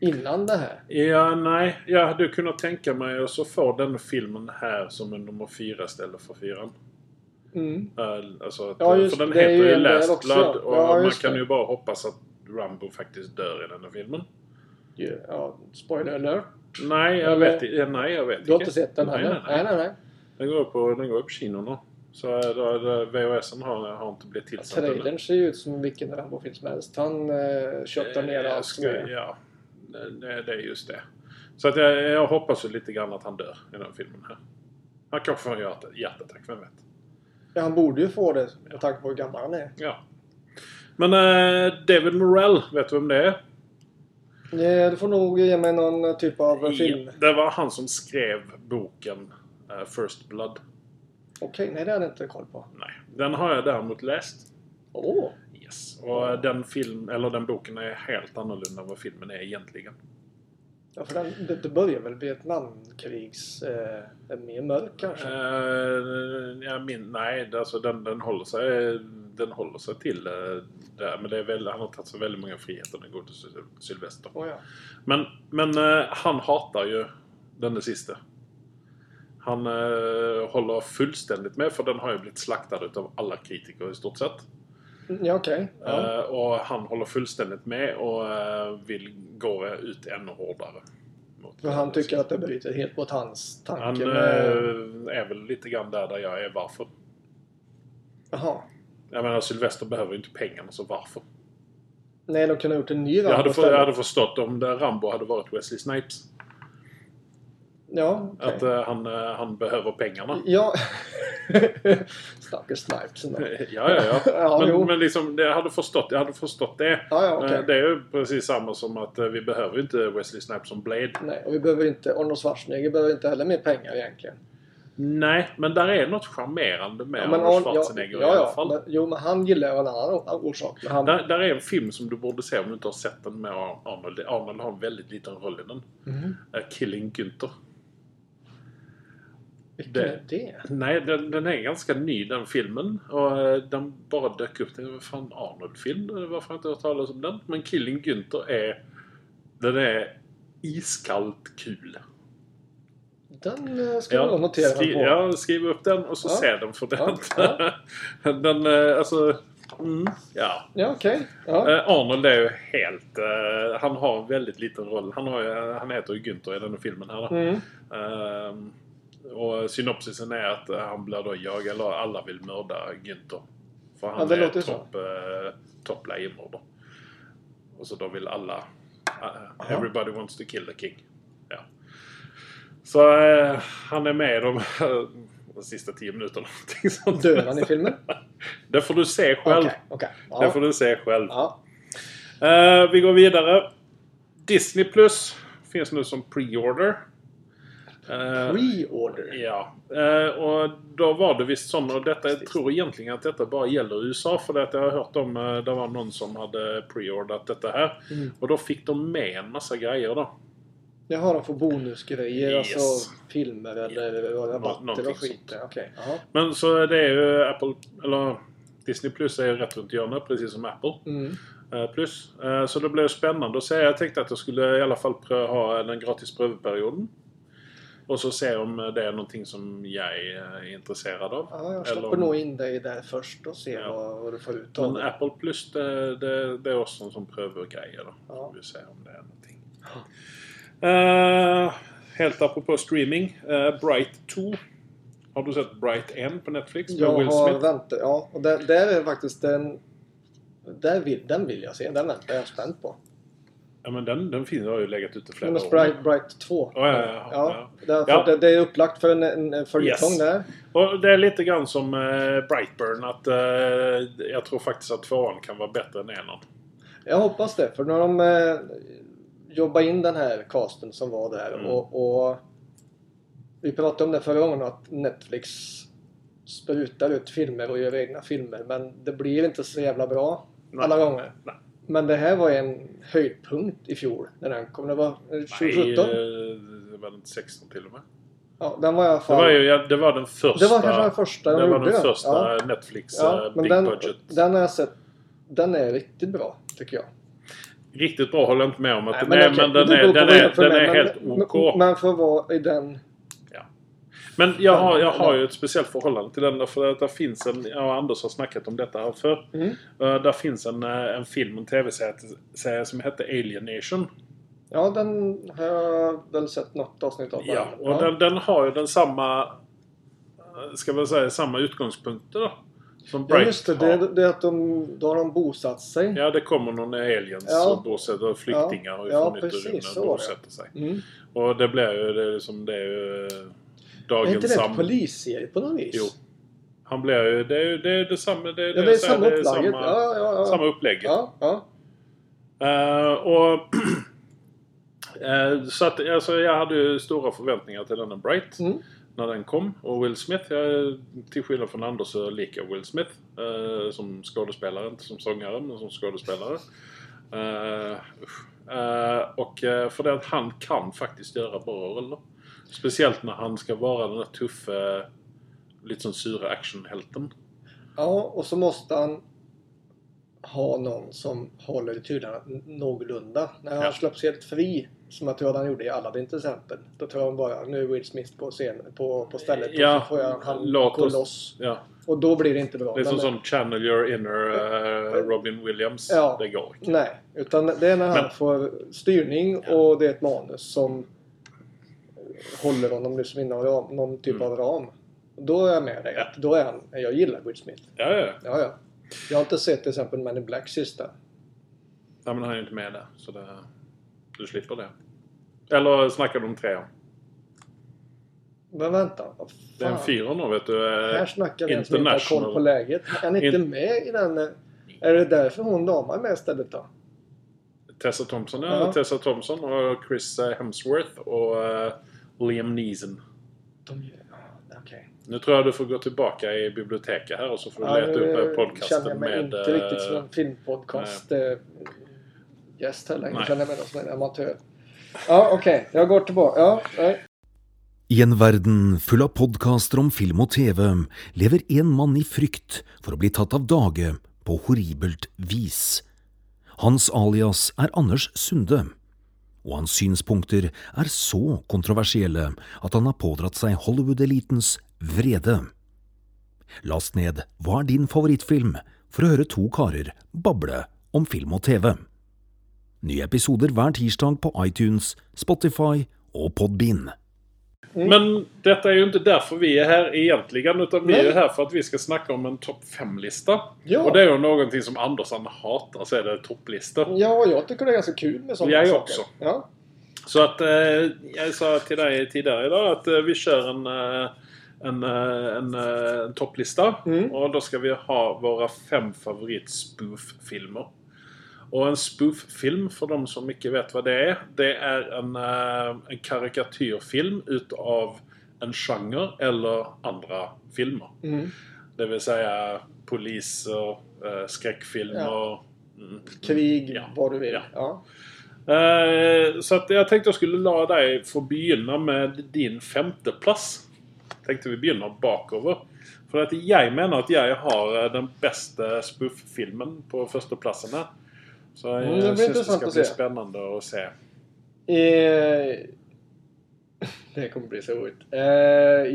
S2: Innan det här.
S1: Ja, nej. Jag hade ju kunnat tänka mig att så få den filmen här som en nummer fyra istället för fyran.
S2: Mm.
S1: Eh, Alltså, att,
S2: Ja, just
S1: för den
S2: det. Det är
S1: heter
S2: ju
S1: ju
S2: en del
S1: Last
S2: också.
S1: Blood och
S2: Ja,
S1: man
S2: just
S1: kan
S2: det.
S1: ju bara hoppas att Rambo faktiskt dör i den här filmen.
S2: Ju- Ja, spoiler alert.
S1: Nej, jag
S2: Eller-
S1: vet inte. Nej, jag vet
S2: Du har inte sett den
S1: Nej,
S2: heller?
S1: nej, nej.
S2: nej, nej.
S1: Den går upp på, den går upp på kinorna. Så eh, då, då, VHSen har, har inte blivit tillsatt ännu.
S2: Trailern ser ju ut som vilken Rambo-film som helst. Han eh, köpte ner
S1: Eh,
S2: allt som
S1: ska,
S2: är.
S1: Ja, det, det är just det. Så att jag, jag hoppas ju lite grann att han dör i den filmen här. Han kanske får en hjärta, hjärtattack, vem vet?
S2: Ja, han borde ju få det med tanke på hur gammal han är.
S1: Ja. Men eh, David Morrell, vet du vem det är?
S2: Eh, Du får nog ge mig någon typ av film.
S1: Ja, Det var han som skrev boken eh, First Blood.
S2: Okej, nej det hade jag inte koll på.
S1: Nej, den har jag däremot läst.
S2: Åh!
S1: Yes. Och eh, den, film, eller den boken är helt annorlunda än vad filmen är egentligen.
S2: Ja, för den, det, det börjar väl Vietnamkrigs... Eh, mer mörk kanske?
S1: Eh, jag min, nej, det- alltså den, den, håller sig, den håller sig till eh, där. Men det är väl, han har tagit sig väldigt många friheter när det går till Syl- Sylvester.
S2: Oh, ja.
S1: Men, men eh, han hatar ju den sista. Han eh, håller fullständigt med för den har ju blivit slaktad utav alla kritiker i stort sett.
S2: Mm, ja, okej. Ja.
S1: Eh, och han håller fullständigt med och eh, vill gå ut ännu hårdare. mot
S2: För
S1: den
S2: han tycker
S1: sista.
S2: att det bryter helt mot hans tanke
S1: Han
S2: med...
S1: eh, är väl lite grann där, där jag är. Varför?
S2: Jaha.
S1: Jag menar, Sylvester behöver ju inte pengarna, så varför?
S2: Nej, de kunde ha gjort en ny
S1: Jag hade,
S2: Rambo
S1: för, jag
S2: istället.
S1: hade förstått om det Rambo hade varit Wesley Snipes.
S2: Ja, okej.
S1: Att eh, han, eh, han behöver pengarna.
S2: Ja... Stackars Snipes ändå.
S1: ja, ja,
S2: Ja,
S1: ja.
S2: jo.
S1: Men, men liksom, det, jag, hade förstått, jag hade förstått det.
S2: Ja, ja, okej.
S1: Eh, Det är ju precis samma som att eh, vi behöver ju inte Wesley Snipes som Blade.
S2: Nej, och vi behöver inte... Arnold Schwarzenegger behöver inte heller mer pengar egentligen.
S1: Nej, men där är något charmerande med Arnold
S2: Arn-
S1: Schwarzenegger
S2: ja, ja,
S1: i alla fall.
S2: Men, jo, men han gillar ju av en annan or- orsak. Men han,
S1: Där, där är en film som du borde se om du inte har sett den med Ar- Arnold. Arnold har en väldigt liten roll i den.
S2: Mhm.
S1: Eh, Killing Günther.
S2: Vilken
S1: det-
S2: är det?
S1: Nej, den, den är ganska ny den filmen. Och eh, den bara dök upp. Det var fan Arnold-film. eh, Varför har jag inte hört talas om den? Men Killing Günther är... Den är iskallt kul.
S2: Den eh, ska jag nog notera
S1: skri-
S2: på.
S1: ja, skriv upp den och så
S2: Ja.
S1: se den för den.
S2: Ja,
S1: den, eh, alltså... Mm, ja.
S2: Ja, okej. Ja.
S1: Eh, Arnold är ju helt... eh, han har en väldigt liten roll. Han, har, ju- eh, han heter ju Günther i den här filmen här. då.
S2: Mm.
S1: Ehm, och synopsisen är att eh, han blir då jagad, eller alla vill mörda Günther. För han
S2: Ja, det
S1: är
S2: låter så.
S1: topp, eh, topp leijonmördare. Och så då vill alla... eh,
S2: Aha.
S1: everybody wants to kill the king. Ja. Så eh, han är med de här de sista tio minuterna. någonting sånt.
S2: Dör han i filmen?
S1: Det får du se själv.
S2: Okej, okej.
S1: Det
S2: Ja.
S1: får du se själv.
S2: Ja.
S1: Eh, vi går vidare. Disney Plus finns nu som pre-order. Eh,
S2: Pre-order.
S1: Ja, eh, och då var det visst sådana. Och detta, jag tror egentligen att detta bara gäller USA. För det att jag har hört om, eh, det var någon som hade preordat detta här.
S2: Mm.
S1: Och då fick de med en massa grejer då.
S2: Det har de för bonusgrejer,
S1: Yes.
S2: alltså filmer eller rabatter
S1: någonting
S2: och skit.
S1: sånt.
S2: Okej. Jaha.
S1: Men så det är ju Apple, eller Disney Plus är ju rätt runt hjörnet, precis som Apple
S2: Mm.
S1: eh, Plus. Eh, Så det blev spännande att se. Jag tänkte att jag skulle i alla fall prö- ha den gratis prövperioden. Och så se om det är någonting som jag är intresserad av.
S2: Ja, jag
S1: Eller
S2: släpper
S1: om-
S2: nog in dig där först och ser
S1: Ja.
S2: vad, vad du får ut av
S1: Men
S2: det.
S1: Apple Plus, det, det, det är också som prövar grejer då.
S2: Ja.
S1: Får vi se om det är någonting. Eh, helt apropå streaming. eh, Bright 2. Har du sett Bright 1 på Netflix? Med
S2: Jag
S1: Will
S2: har
S1: Smith?
S2: väntat, ja. Och där, där är faktiskt den... Där vill, den vill jag se. Den väntar jag spänt på.
S1: Ja, men den, den finns, har ju legat ute flera
S2: Men
S1: år.
S2: Bright, Bright 2.
S1: Ja, ja, ja.
S2: därför
S1: Ja.
S2: Det, det är upplagt för en, en en följetong
S1: Yes.
S2: där.
S1: Och det är lite grann som eh, Brightburn. Att, eh, jag tror faktiskt att tvåan kan vara bättre än enan.
S2: Jag hoppas det, för när de eh, jobbade in den här casten som var där
S1: Mm.
S2: och, och vi pratade om det förra gången att Netflix sprutar ut filmer och gör egna filmer men det blir inte så jävla bra
S1: Nej.
S2: alla gånger.
S1: Nej.
S2: Men det här var en höjdpunkt i fjol när den kom. Det var eh,
S1: Nej,
S2: 2017?
S1: eh, det var den 16 till och med.
S2: Ja, den var i alla
S1: Det
S2: fall...
S1: var, ju, ja, det var den första.
S2: det var kanske den första de
S1: det var
S2: gjorde.
S1: den
S2: ja.
S1: första Netflix
S2: ja,
S1: eh,
S2: men
S1: Big
S2: den,
S1: Budget.
S2: den har jag sett. Den är riktigt bra, tycker jag.
S1: Riktigt bra håller jag inte med om att
S2: Nej,
S1: den är,
S2: okej,
S1: men den
S2: det
S1: är,
S2: beror på
S1: den
S2: vad
S1: är,
S2: det för
S1: den
S2: mig,
S1: är
S2: men-
S1: helt
S2: men-
S1: OK.
S2: Men för att vara i den...
S1: Men jag har, jag har ju ett speciellt förhållande till den där, för att där finns en, jag och Anders har snackat om detta här förr.
S2: Mm.
S1: Eh, Där finns en, eh, en film, en tv-serie serie som heter Alien Nation.
S2: Ja, den har jag väl sett något avsnitt av.
S1: Ja, och
S2: Ja.
S1: Den, den har ju den samma, eh, ska man säga, samma utgångspunkter då. Som
S2: ja
S1: Bright
S2: just det.
S1: har.
S2: Det, det är att de, då har de bosatt sig.
S1: Ja, det kommer någon aliens
S2: Ja.
S1: och bosätter flyktingar
S2: Ja,
S1: ifrån
S2: ja,
S1: yttre
S2: precis,
S1: rymden
S2: så
S1: och
S2: var det.
S1: bosätter sig.
S2: Mm.
S1: Och det blir ju, det är liksom, det är ju eh,
S2: Är inte
S1: dagens
S2: det en
S1: sam...
S2: polisserie på något vis?
S1: Jo. Han blir ju, det är ju det är detsamma. Det,
S2: Ja, det är samma
S1: det är
S2: upplägget.
S1: samma-
S2: Ja, ja, ja.
S1: Samma upplägg.
S2: ja, ja.
S1: Eh, och eh, så att, alltså, jag hade ju stora förväntningar till denna Bright.
S2: Mm.
S1: När den kom. Och Will Smith, jag, till skillnad från Anders så likar Will Smith. eh, som skådespelare, inte som sångare, men som skådespelare. Eh, usch. Eh, och eh, för det att han kan faktiskt göra bra roller. Speciellt när han ska vara den där tuffe, lite sån sura actionhjälten.
S2: ja, och så måste han ha någon som håller i tyglarna n- någorlunda. När han
S1: Ja.
S2: släpps helt fri, som jag tror han gjorde i Aladdin till exempel. Då tror han bara nu är Will Smith på, scen, på, på stället
S1: Ja,
S2: och så får jag, han
S1: låt
S2: gå
S1: oss-
S2: loss.
S1: Ja.
S2: Och då blir det inte bra.
S1: Det är som,
S2: Men-
S1: som Channel Your Inner eh, Robin Williams.
S2: Ja.
S1: Det går inte.
S2: Nej, utan det är när han
S1: Men-
S2: får styrning och det är ett manus som håller honom liksom inom ram, någon typ
S1: Mm.
S2: av ram. Då är jag med dig.
S1: Ja.
S2: att Då är han, jag gillar Will Smith.
S1: Ja, ja.
S2: Ja, ja. Jag har inte sett till exempel Men in Black sista.
S1: Nej, men han är ju inte med där. Så det, du slipper det. Eller snackar du om trean?
S2: Men vänta, vad fan.
S1: Det är en fyra nu vet du.
S2: Här
S1: Eh,
S2: snackar vi en som inte har koll på
S1: International.
S2: läget. Är han inte med i den? eh, Är det därför hon damen är med istället då?
S1: Tessa Thompson, ja.
S2: Ja.
S1: Tessa Thompson och Chris eh, Hemsworth och eh, Liam Neeson.
S2: De gör... ja, Okej.
S1: Nu tror jag du får gå tillbaka i biblioteket här och så får du
S2: Ja,
S1: leta
S2: nu
S1: upp eh, podcasten
S2: känner jag mig
S1: med...
S2: inte
S1: eh,
S2: riktigt som en filmpodcast eh, gäst här längre.
S1: Nej.
S2: känner jag mig då som en amatör. Ja, okej. Jag går tillbaka. Ja, nej.
S3: I en verden full av podkaster om film og TV lever en mann i frykt for å bli tatt av dage på horribelt vis. Hans alias er Anders Sunde, og hans synspunkter er så kontroversielle at han har pådratt seg Hollywood-elitens vrede. Last ned Hva er din favorittfilm? for å høre to karer bable om film og TV. Nye episoder hver tirsdag på iTunes, Spotify og Podbean.
S1: Men detta är ju inte därför vi är här egentligen. Utan vi
S2: Nej.
S1: är ju här för att vi ska snacka om en topp 5-lista.
S2: Ja.
S1: Och det är ju någonting som Andersson hatar, så är det topplistor.
S2: ja, jag tycker det är ganska kul med sådana
S1: Jag
S2: saker.
S1: också.
S2: Ja.
S1: Så att eh, jag sa till dig tidigare idag att eh, vi kör en, eh, en, eh, en, eh, en topplista.
S2: Mm.
S1: Och då ska vi ha våra fem favorit-spoof-filmer. Och en spoof-film, för de som inte vet vad det är, det är en, eh, en karikatyrfilm utav en genre eller andra filmer.
S2: Mm.
S1: Det vill säga poliser, eh, skräckfilmer.
S2: Ja.
S1: Mm.
S2: Krig,
S1: Ja.
S2: vad du vill.
S1: Ja.
S2: Ja.
S1: Eh, så att jag tänkte jag skulle la dig få begynna med din femte plats. Tänkte vi begynna bakover. För att jag menar att jag har eh, den bästa spoof-filmen på första platsen här. Så eh, jag
S2: Mm, det blir
S1: syns det
S2: intressant
S1: ska
S2: att
S1: bli
S2: se.
S1: spännande att se.
S2: Eh, det kommer bli så roligt. Eh,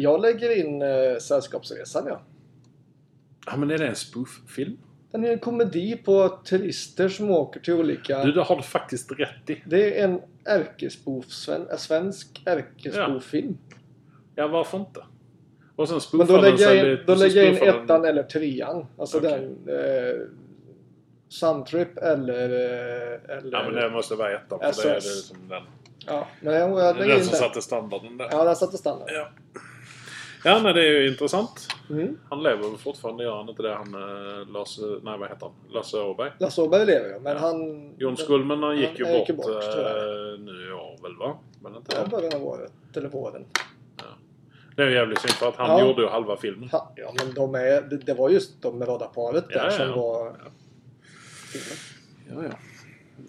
S2: jag lägger in eh, Sällskapsresan, ja.
S1: Ja men är det en spoof-film?
S2: Den är en komedi på turister som åker till olika...
S1: Du, det har du faktiskt rätt i.
S2: Det är en ärkespoof, sven, en svensk ärkespoof-film.
S1: Ja, varför inte? Och sen
S2: Men
S1: spoofar
S2: då
S1: den
S2: lägger
S1: sig
S2: jag in,
S1: lite-
S2: då
S1: så
S2: lägger jag in
S1: spoofar den-
S2: ettan eller trean. Alltså
S1: Okej.
S2: den... Eh, Suntrip eller... eh, eller
S1: Ja men det måste vara ettan. För det är det
S2: SS.
S1: som den.
S2: ja, men jag, jag
S1: Det är
S2: lägger
S1: den
S2: in
S1: som
S2: den.
S1: satte standarden där.
S2: Ja, den satte standard.
S1: Ja. Ja, nej, det är ju intressant.
S2: Mm.
S1: Han lever väl fortfarande, gör han inte det? Han eh, Lasse... Nej, vad heter han? Lasse Åberg?
S2: Lasse Åberg lever ju, men han...
S1: Jon Skulman han gick ju
S2: han gick
S1: bort,
S2: ju bort, tror
S1: eh, nu i år väl, va? Men inte
S2: Ja,
S1: det.
S2: början av året. Eller våren.
S1: Det är ju jävligt synd för att han
S2: Ja.
S1: gjorde ju halva filmen.
S2: Ha, ja, men de är... Det, det var just de med röda paret där
S1: Ja, ja,
S2: som
S1: ja.
S2: var...
S1: Ja, ja.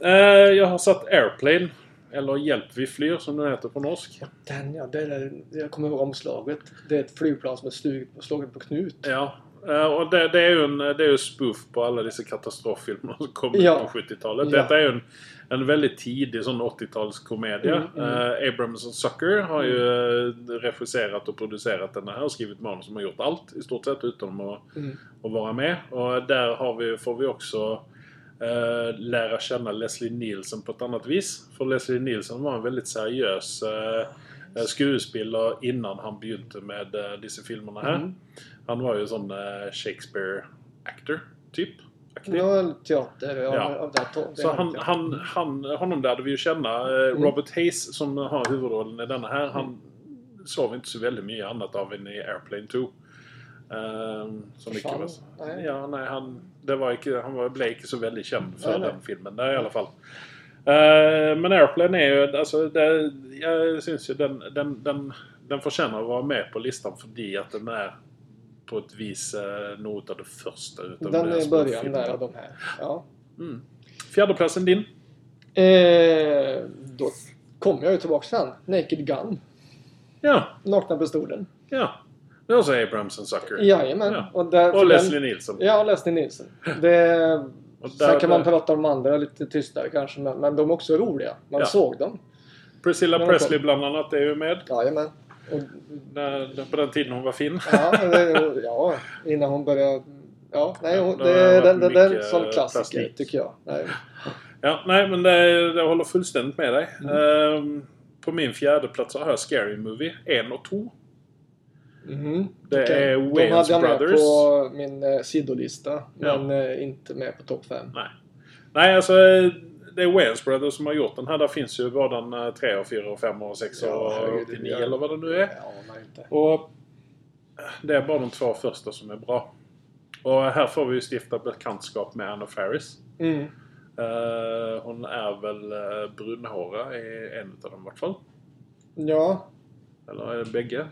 S1: Eh, jag har satt Airplane. Eller Hjälp vi flyr som den heter på norsk.
S2: Ja, den ja. Den är, jag kommer ihåg omslaget. Det är ett flygplan som är slug- slaget på knut.
S1: Ja. Eh, och det, det är ju en det är ju spoof på alla dessa katastroffilmer som kom ut
S2: Ja.
S1: på 70-talet.
S2: Ja.
S1: Detta är ju en, en väldigt tidig sån 80-talskomedie.
S2: Mm, mm.
S1: Eh, Abrams och Sucker har ju eh, regisserat och producerat den här och skrivit manus som har gjort allt i stort sett utom att,
S2: Mm.
S1: att vara med. Och där har vi, får vi också eh, lära känna Leslie Nielsen på ett annat vis. För Leslie Nielsen var en väldigt seriös eh, skuespelare innan han begynte med eh, dessa filmerna här.
S2: Mm.
S1: Han var ju sån eh, Shakespeare-actor, typ. Aktiv.
S2: Det var en teater av,
S1: Ja.
S2: av det här to-
S1: Så
S2: det här
S1: han, han, han, honom lärde vi ju känna. Eh,
S2: Mm.
S1: Robert Hayes som har huvudrollen i denna här, han
S2: Mm.
S1: såg vi inte så väldigt mycket annat av än i Airplane 2. Ehm, så mycket
S2: Försvann?
S1: väl.
S2: Nej.
S1: Ja, nej, han, det var, icke- han var, blev inte så väldigt känd för
S2: Nej, nej.
S1: den filmen där i alla fall. Eh, men Airplane är ju, alltså, det, jag syns ju den, den, den, den förtjänar att vara med på listan för att den är på ett vis eh, något av det första utav
S2: Den
S1: det här
S2: är i början
S1: småfilmerna.
S2: där av de här. Ja.
S1: Mm. Fjärdeplatsen din.
S2: Eh, då kommer jag ju tillbaka sen. Naked Gun.
S1: Ja,
S2: Nakna pistolen.
S1: ja. Det är också Abrams and Sucker.
S2: Jajamän.
S1: Ja.
S2: Och, där,
S1: Och
S2: för
S1: Leslie Nielsen.
S2: Den, ja, och Leslie Nielsen. Det,
S1: Och
S2: sen kan man
S1: där-
S2: prata om andra lite tystare kanske, men, men de är också roliga. Man
S1: Ja.
S2: såg dem.
S1: Priscilla
S2: Ja,
S1: Presley bland annat är ju med.
S2: Jajamän. Och,
S1: När- när- På den tiden hon var fin.
S2: ja, det- ja, innan hon började... Ja, nej, hon,
S1: Det
S2: det,
S1: har varit
S2: den, den, den
S1: mycket
S2: som klassiker
S1: plastik.
S2: tycker jag. Nej.
S1: Ja, nej men det, det håller fullständigt med dig.
S2: Mm.
S1: Ehm, på min fjärde plats så har jag Scary Movie 1 och 2.
S2: Mhm.
S1: Det
S2: Okej.
S1: är
S2: De hade
S1: Wayans
S2: jag med
S1: Brothers.
S2: på min eh, sidolista,
S1: Ja.
S2: men eh, inte med på topp 5.
S1: Nej. Nej, alltså eh, det är Wayans Brothers som har gjort den här. Där finns ju både 3 och 4 och 5 och 6
S2: Ja,
S1: och
S2: herregud, det
S1: 89
S2: gör-
S1: eller vad det nu är.
S2: Ja, nej, inte.
S1: Och eh, det är bara de två första som är bra. Och här får vi ju stifta bekantskap med Anna Faris.
S2: Mm.
S1: Eh, hon är väl uh, brunhåra i en av dem i vart fall.
S2: Ja.
S1: Eller är det bägge?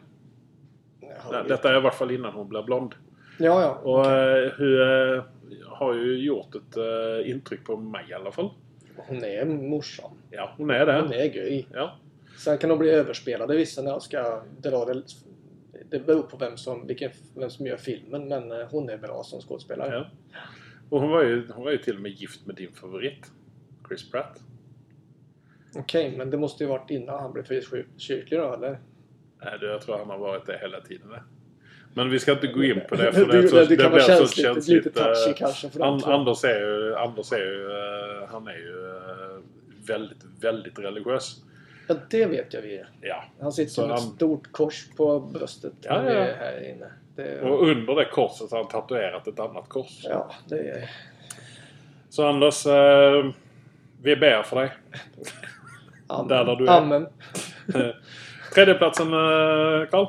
S2: Ja,
S1: Nej, Detta är i vart fall innan hon blev blond.
S2: ja. ja.
S1: Och eh, hon eh, har ju gjort ett eh, intryck på mig i alla fall.
S2: Hon är morsan.
S1: Ja, hon är det.
S2: Hon är göj.
S1: Ja.
S2: Sen kan de bli överspelade vissa när de ska dra det. Det beror på vem som, vilken, vem som gör filmen, men eh, hon är bra som skådespelare.
S1: ja. Och hon var, ju, hon var ju till och med gift med din favorit. Chris Pratt.
S2: Okej, men det måste ju varit innan han blev frikyrklig då, eller?
S1: Nej, du, jag tror han har varit det hela tiden. va? Men vi ska inte gå in på det.
S2: Det-
S1: För det, är så,
S2: det
S1: det,
S2: kan vara
S1: blir så
S2: känsligt,
S1: känsligt.
S2: lite touchy
S1: eh,
S2: kanske för de
S1: An,
S2: två.
S1: Anders är ju... Anders är ju eh, han är ju eh, väldigt, väldigt religiös.
S2: Ja, det vet jag vi är.
S1: Ja.
S2: Han sitter
S1: Så
S2: ju med
S1: han-
S2: ett stort kors på bröstet
S1: Ja,
S2: när vi
S1: ja.
S2: är här inne. Det,
S1: Och under det korset har han tatuerat ett annat kors.
S2: ja, det är...
S1: Så Anders, eh, vi ber för dig.
S2: Amen.
S1: Där, där du är.
S2: Amen.
S1: Tredjeplatsen, eh, Karl.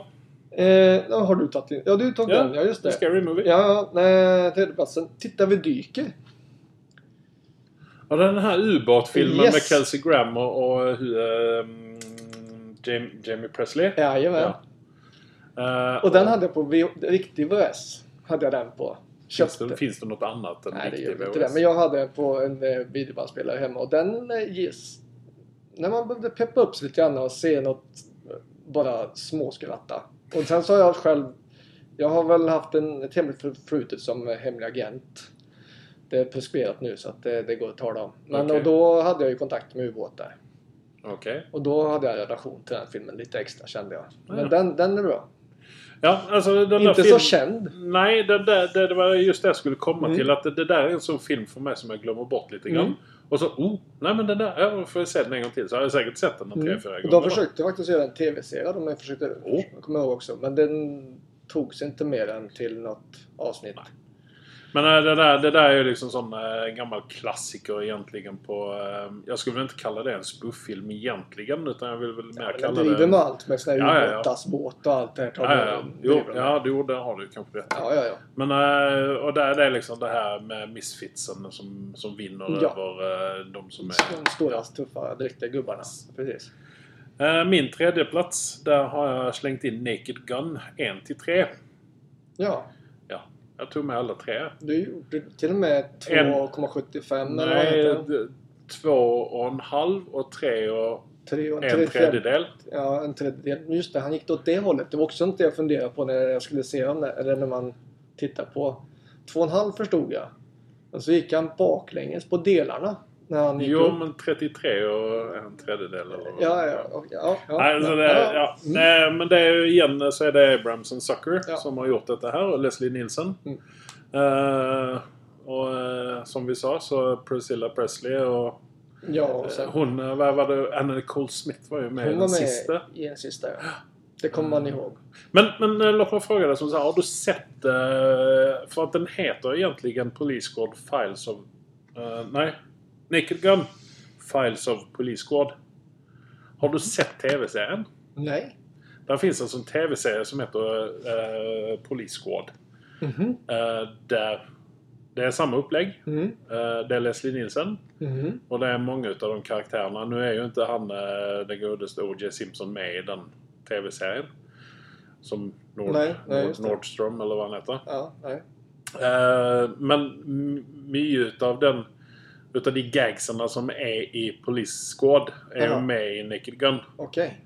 S2: Eh, ja, har du tagit in? Ja, du tog
S1: Ja,
S2: den. Ja, just
S1: The
S2: det.
S1: Scary Movie.
S2: Ja, ja, nej, tredjeplatsen. Titta, vi dyker.
S1: Ja, den här ubåtfilmen
S2: Yes.
S1: med Kelsey Grammer och eh, hu- ehm, Jamie, Jamie Presley.
S2: Jajamän.
S1: Ja. Eh,
S2: Och den hade jag på v- riktig VHS. Hade jag den på.
S1: finns,
S2: Köpte.
S1: det, finns det något annat än
S2: Nej, det
S1: riktig
S2: gjorde
S1: VHS?
S2: inte det. Men jag hade den på en eh, videobandspelare hemma och den eh, ges... När man behövde peppa upp sig lite grann och se något eh, bara småskratta. Och sen så har jag själv... Jag har väl haft en, ett hemligt förflutet som eh, hemlig agent. Det är preskriberat nu så att det, det går att tala om. Men
S1: Okej.
S2: och då hade jag ju kontakt med ubåtar.
S1: Okej.
S2: Och då hade jag relation till den filmen lite extra kände jag. Men
S1: Ja.
S2: den, den är bra.
S1: Ja, alltså den där
S2: Inte så
S1: filmen-
S2: känd.
S1: Nej, det, där, det, det var just det jag skulle komma
S2: Mm.
S1: till. Att det, det där är en sån film för mig som jag glömmer bort lite grann.
S2: Mm.
S1: Och så, oh, nej men den där, ja, då får jag se den en gång till. Så har jag säkert sett den en tre,
S2: Mm.
S1: fyra
S2: Och
S1: gånger.
S2: De försökte faktiskt göra en tv-serie de jag försökte,
S1: Jo.
S2: jag kommer ihåg också. Men den togs inte mer än till något avsnitt.
S1: Men äh, det, där, det där är ju liksom sån äh, gammal klassiker egentligen på... Äh, jag skulle väl inte kalla det en spoof-film egentligen. Utan jag vill väl mer
S2: Men
S1: kalla
S2: de driver
S1: det...
S2: med allt med såna
S1: Ja,
S2: här
S1: ja, ja.
S2: ubåtarsbåt och allt det här.
S1: Ja, ja, ja. Jo,
S2: Driver de med.
S1: ja, jo, där har du kanske rätt.
S2: ja, ja, ja.
S1: Men äh, och där, det är liksom det här med misfitsen som, som vinner
S2: Ja.
S1: över äh, de som är...
S2: De stora, tuffa, riktiga gubbarna. Precis.
S1: Eh, Min tredje plats där har jag slängt in Naked Gun 1 till 3.
S2: Ja,
S1: Ja, jag tog med alla tre.
S2: du gjorde till och med 2,75 eller vad
S1: Nej,
S2: heter det?
S1: d- två och en halv och tre och
S2: Tre och
S1: en
S2: tre fjärde-
S1: tredjedel.
S2: Ja, en tredjedel. Just det, han gick åt det hållet. Det var också inte jag funderade på när jag skulle se honom, eller när man tittar på. Två och en halv förstod jag. Men så gick han baklänges på delarna när han gick
S1: Jo,
S2: upp.
S1: men 33 och en tredjedel eller vad det
S2: Ja, ja,
S1: är.
S2: ja. ja, ja,
S1: Alltså det,
S2: ja. Mm.
S1: ja. Nej, men det är ju igen så är det Abrams and Sucker
S2: Ja.
S1: som har gjort detta här och Leslie Nielsen.
S2: Mm.
S1: Eh, och eh, som vi sa så Priscilla Presley och
S2: Ja, och sen,
S1: eh, hon, eh, vad var det, Anna Nicole Smith var ju med i den
S2: hon var med
S1: sista.
S2: i den sista. Ja. Det kommer man ihåg.
S1: Men, men eh, låt mig fråga dig som så här, har du sett... eh, För att den heter egentligen Police Squad Files of... eh, nej. Naked Gun Files of Police Squad. Har du sett TV-serien?
S2: Nej.
S1: Där finns alltså en TV-serie som heter eh, Police Squad.
S2: Mhm.
S1: Eh, där det är samma upplägg.
S2: Mm.
S1: Eh, det är Leslie Nielsen.
S2: Mhm.
S1: Och det är många utav de karaktärerna. Nu är ju inte han eh, den godeste O.J. Simpson med i den TV-serien. Som Nord,
S2: Nej, nej,
S1: Nord,
S2: just det.
S1: Nordstrom eller vad han heter.
S2: Ja, nej.
S1: Eh, men m- mycket utav den utav de gagsarna som är i Police Squad är ju
S2: Jaha.
S1: med i Naked Gun.
S2: Okej.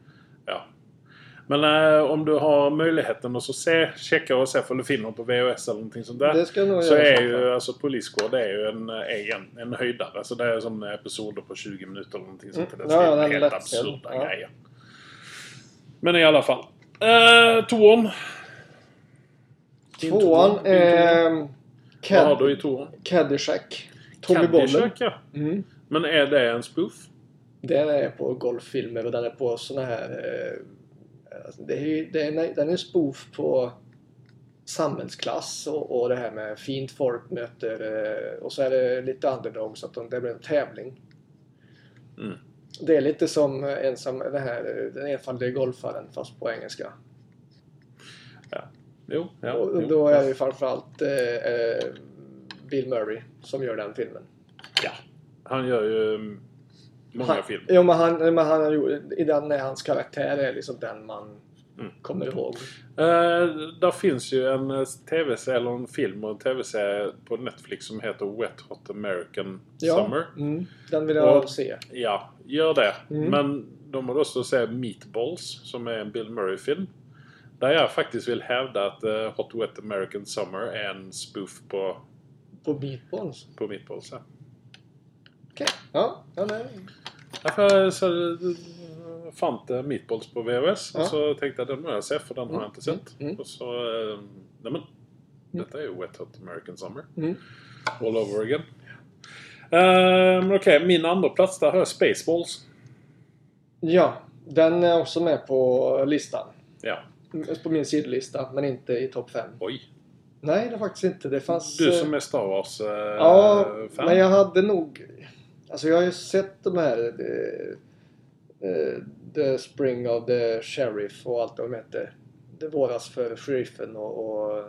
S1: Ja. Men eh, om du har möjligheten att så se, checka och se om du finner dem på VHS eller någonting sånt där.
S2: Det ska jag nog
S1: Så
S2: göra. i
S1: är
S2: så fall.
S1: ju alltså Police Squad är ju en, är en, en höjdare. Så det är som episoder på 20 minuter eller någonting sånt.
S2: Mm,
S1: Det
S2: ja,
S1: är
S2: den är
S1: helt
S2: lätt
S1: absurda
S2: sedd, ja.
S1: grejer. Men i alla fall. Eh, tvåan. Din
S2: Tvåan
S1: din tvåa.
S2: är...
S1: Vad har
S2: Cad-
S1: du i tvåan?
S2: Caddyshack. Tommy Bollen.
S1: Caddyshack, ja.
S2: Mm.
S1: Men är det en spoof?
S2: Den är på golffilmer och den är på såna här... Eh, alltså, det är ju, det är, den är spoof på samhällsklass och, och det här med fint folk möter... Eh, och så är det lite underdog så att de, det blir en tävling.
S1: Mm.
S2: Det är lite som eh, ensam, det här, eh, den enfaldige golfaren fast på engelska.
S1: Jo. Ja,
S2: och
S1: jo.
S2: då är det ju framförallt eh, eh, Bill Murray som gör den filmen.
S1: Ja. Han gör ju mm, många
S2: han,
S1: filmer.
S2: Jo, men han, men han har gjort, i den är hans karaktär är liksom den man
S1: Mm.
S2: kommer ihåg.
S1: Eh, där finns ju en eh, tv-serie, eller en film och en tv-serie på Netflix som heter Wet Hot American Summer.
S2: Mm, den vill jag
S1: Och-
S2: se.
S1: Ja, gör det.
S2: Mm.
S1: Men de har också säga Meatballs, som är en Bill Murray-film. Där jag faktiskt vill hävda att eh, Hot Wet American Summer är en spoof på,
S2: På Meatballs.
S1: på Meatballs. Ja.
S2: Okej. Ja, ja, nej.
S1: Därför eh, så, fann jag Meatballs på VHS
S2: Ja.
S1: och så tänkte jag den måste jag se för den har jag inte sett.
S2: Mm.
S1: Och så... Eh, nej men, detta är ju Wet Hot American Summer.
S2: Mm.
S1: All over again. Eh, men Okej, min andra plats där har jag Spaceballs.
S2: Ja, den är också med på listan.
S1: Ja,
S2: Mm, På min sidolista, men inte i topp 5.
S1: oj.
S2: Nej, det är faktiskt inte. Det fanns...
S1: Du
S2: eh,
S1: som är Star Wars-fan.
S2: Ja, men jag hade nog... Alltså jag har ju sett de här... Eh, eh, The Spring of the Sheriff och allt vad de heter. Det våras för sheriffen och, och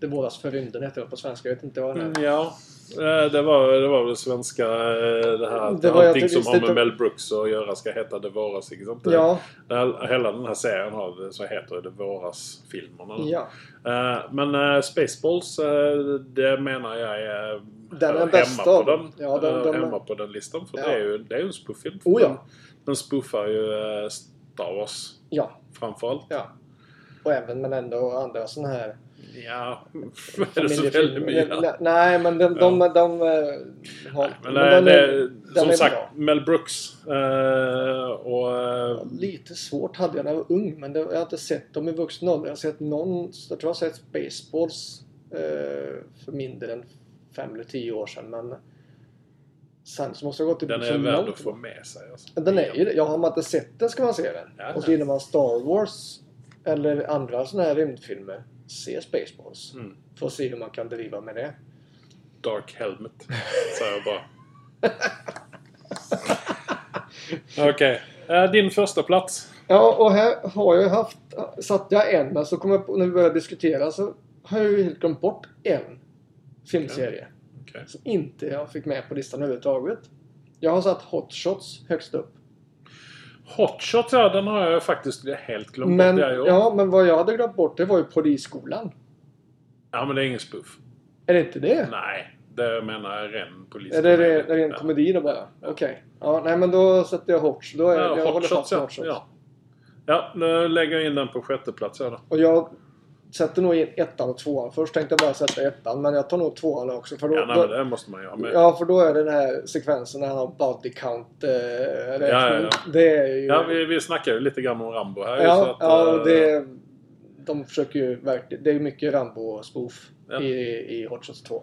S2: Det våras för rymden heter det på svenska. Jag vet inte vad den är.
S1: Mm, ja. Eh, Det var, det var väl svenska eh, det här att
S2: Det var- jag
S1: allting
S2: tycker
S1: som har med
S2: inte-
S1: Mel Brooks att göra ska heta Det våras. Liksom. inte?
S2: Ja,
S1: Det här- Hela den här serien har, så heter det Det våras-filmerna.
S2: ja.
S1: Eh, Men eh, Spaceballs, eh, det menar jag är,
S2: Den är bäst
S1: hemma,
S2: av
S1: på
S2: dem.
S1: den,
S2: Ja, den-
S1: eh,
S2: den-
S1: hemma på den listan. För
S2: Ja.
S1: det är ju, det är ju en spooffilm.
S2: Oh ja.
S1: Den spoofar ju eh, Star Wars
S2: Ja,
S1: framförallt.
S2: ja. Och även men ändå andra sådana här
S1: Ja, är det så väldigt mycket?
S2: Nej, Nej, men de... de, de, eh, har,
S1: Men,
S2: men
S1: eh,
S2: den
S1: det,
S2: är- den
S1: som
S2: är
S1: sagt,
S2: bra.
S1: Mel Brooks eh, och... eh,
S2: Lite svårt hade jag när jag var ung, men det, jag har inte sett dem i vuxen ålder. Jag har sett någon, jag tror jag har sett Spaceballs eh, för mindre än fem eller tio år sedan, men sen så måste jag gå
S1: den
S2: tillbaka
S1: är värd att få med sig. Alltså.
S2: Den är ju det. Ja, har man inte sett den ska man se den.
S1: Ja,
S2: och
S1: ja.
S2: gillar man Star Wars eller andra sådana här rymdfilmer, se Spaceballs.
S1: Mm.
S2: För att se hur man kan driva med det.
S1: Dark Helmet, säger jag bara. Okej. Eh, din första plats
S2: Ja, och här har jag ju haft... Satt jag en, men så kom jag på, när vi började diskutera så har jag ju helt glömt bort en filmserie.
S1: Okej.
S2: Som inte jag fick med på listan överhuvudtaget. Jag har satt Hot Shots högst upp.
S1: Hot Shot, ja den har jag faktiskt helt glömt
S2: Men,
S1: bort. Jag gjorde.
S2: ja, men vad jag hade glömt bort det var ju Polisskolan.
S1: ja, men det är ingen spoof.
S2: Är det inte det?
S1: Nej, det menar jag ren polis.
S2: Är det ren, ren
S1: Ja.
S2: komedi då bara? Okej. Ja, nej men då sätter jag Hot Shots. Då är,
S1: Ja,
S2: jag
S1: hot
S2: håller
S1: shots,
S2: fast med
S1: ja.
S2: Hot Shots.
S1: ja. Ja, nu lägger jag in den på sjätte plats ja, då.
S2: Och jag sätter nog in ettan och tvåan. Först tänkte jag bara sätta ettan, men jag tar nog tvåan också. För då,
S1: Ja, nej,
S2: då,
S1: men det måste man ju ha med.
S2: Ja, för då är det den här sekvensen när han har body count eh, räkning.
S1: Ja, ja,
S2: Det är ju...
S1: Ja, vi, vi snackar ju lite grann om Rambo här. ju, så
S2: ja,
S1: att,
S2: ja, och
S1: eh,
S2: det, de försöker ju verkligen... Det är ju mycket Rambo-spoof
S1: Ja.
S2: i, i Hot Shots 2.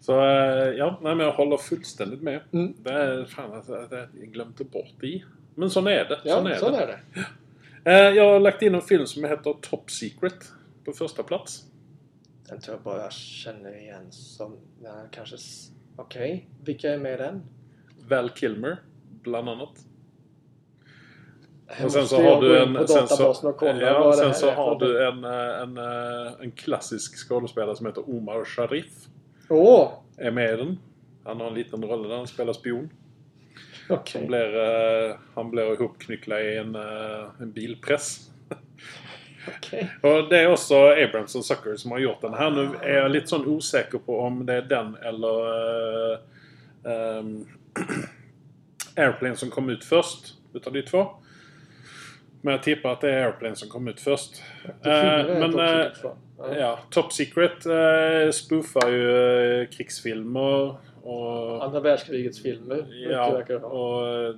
S1: Så eh, ja, nej, men jag håller fullständigt med.
S2: Mm.
S1: Det är fan alltså, att jag glömde bort det. Men sån är det.
S2: Ja,
S1: sån är det.
S2: är det.
S1: Eh, Jag har lagt in en film som heter Top Secret på första plats.
S2: Den tror jag bara jag känner igen som... Ja, kanske... s- Okej, vilka är med i den?
S1: Val Kilmer, bland annat.
S2: Här
S1: Och sen
S2: måste
S1: så
S2: jag
S1: har
S2: gå
S1: du
S2: in
S1: en...
S2: på
S1: sen så,
S2: databasen och kolla
S1: ja,
S2: vad det
S1: sen
S2: här
S1: så
S2: är för
S1: har
S2: någonting.
S1: du en, eh, en, eh, en klassisk skådespelare som heter Omar Sharif.
S2: Åh!
S1: Är med i den. Han har en liten roll där han spelar spion.
S2: Okej.
S1: Han blir, eh, han blir ihopknycklad i en, eh, en bilpress.
S2: Okej.
S1: Och det är också Abrams och Zucker som har gjort den. Här nu är jag lite sån osäker på om det är den eller eh, ehm, Airplane som kom ut först. Utav de två. Men jag tippar att det är Airplane som kom ut först.
S2: Det finner
S1: Eh,
S2: jag
S1: men,
S2: inte
S1: eh,
S2: också, tror jag. Ja.
S1: ja, Top Secret eh, spoofar ju eh, krigsfilmer och...
S2: Andra världskrigets filmer.
S1: Ja,
S2: verkar det vara.
S1: och, eh,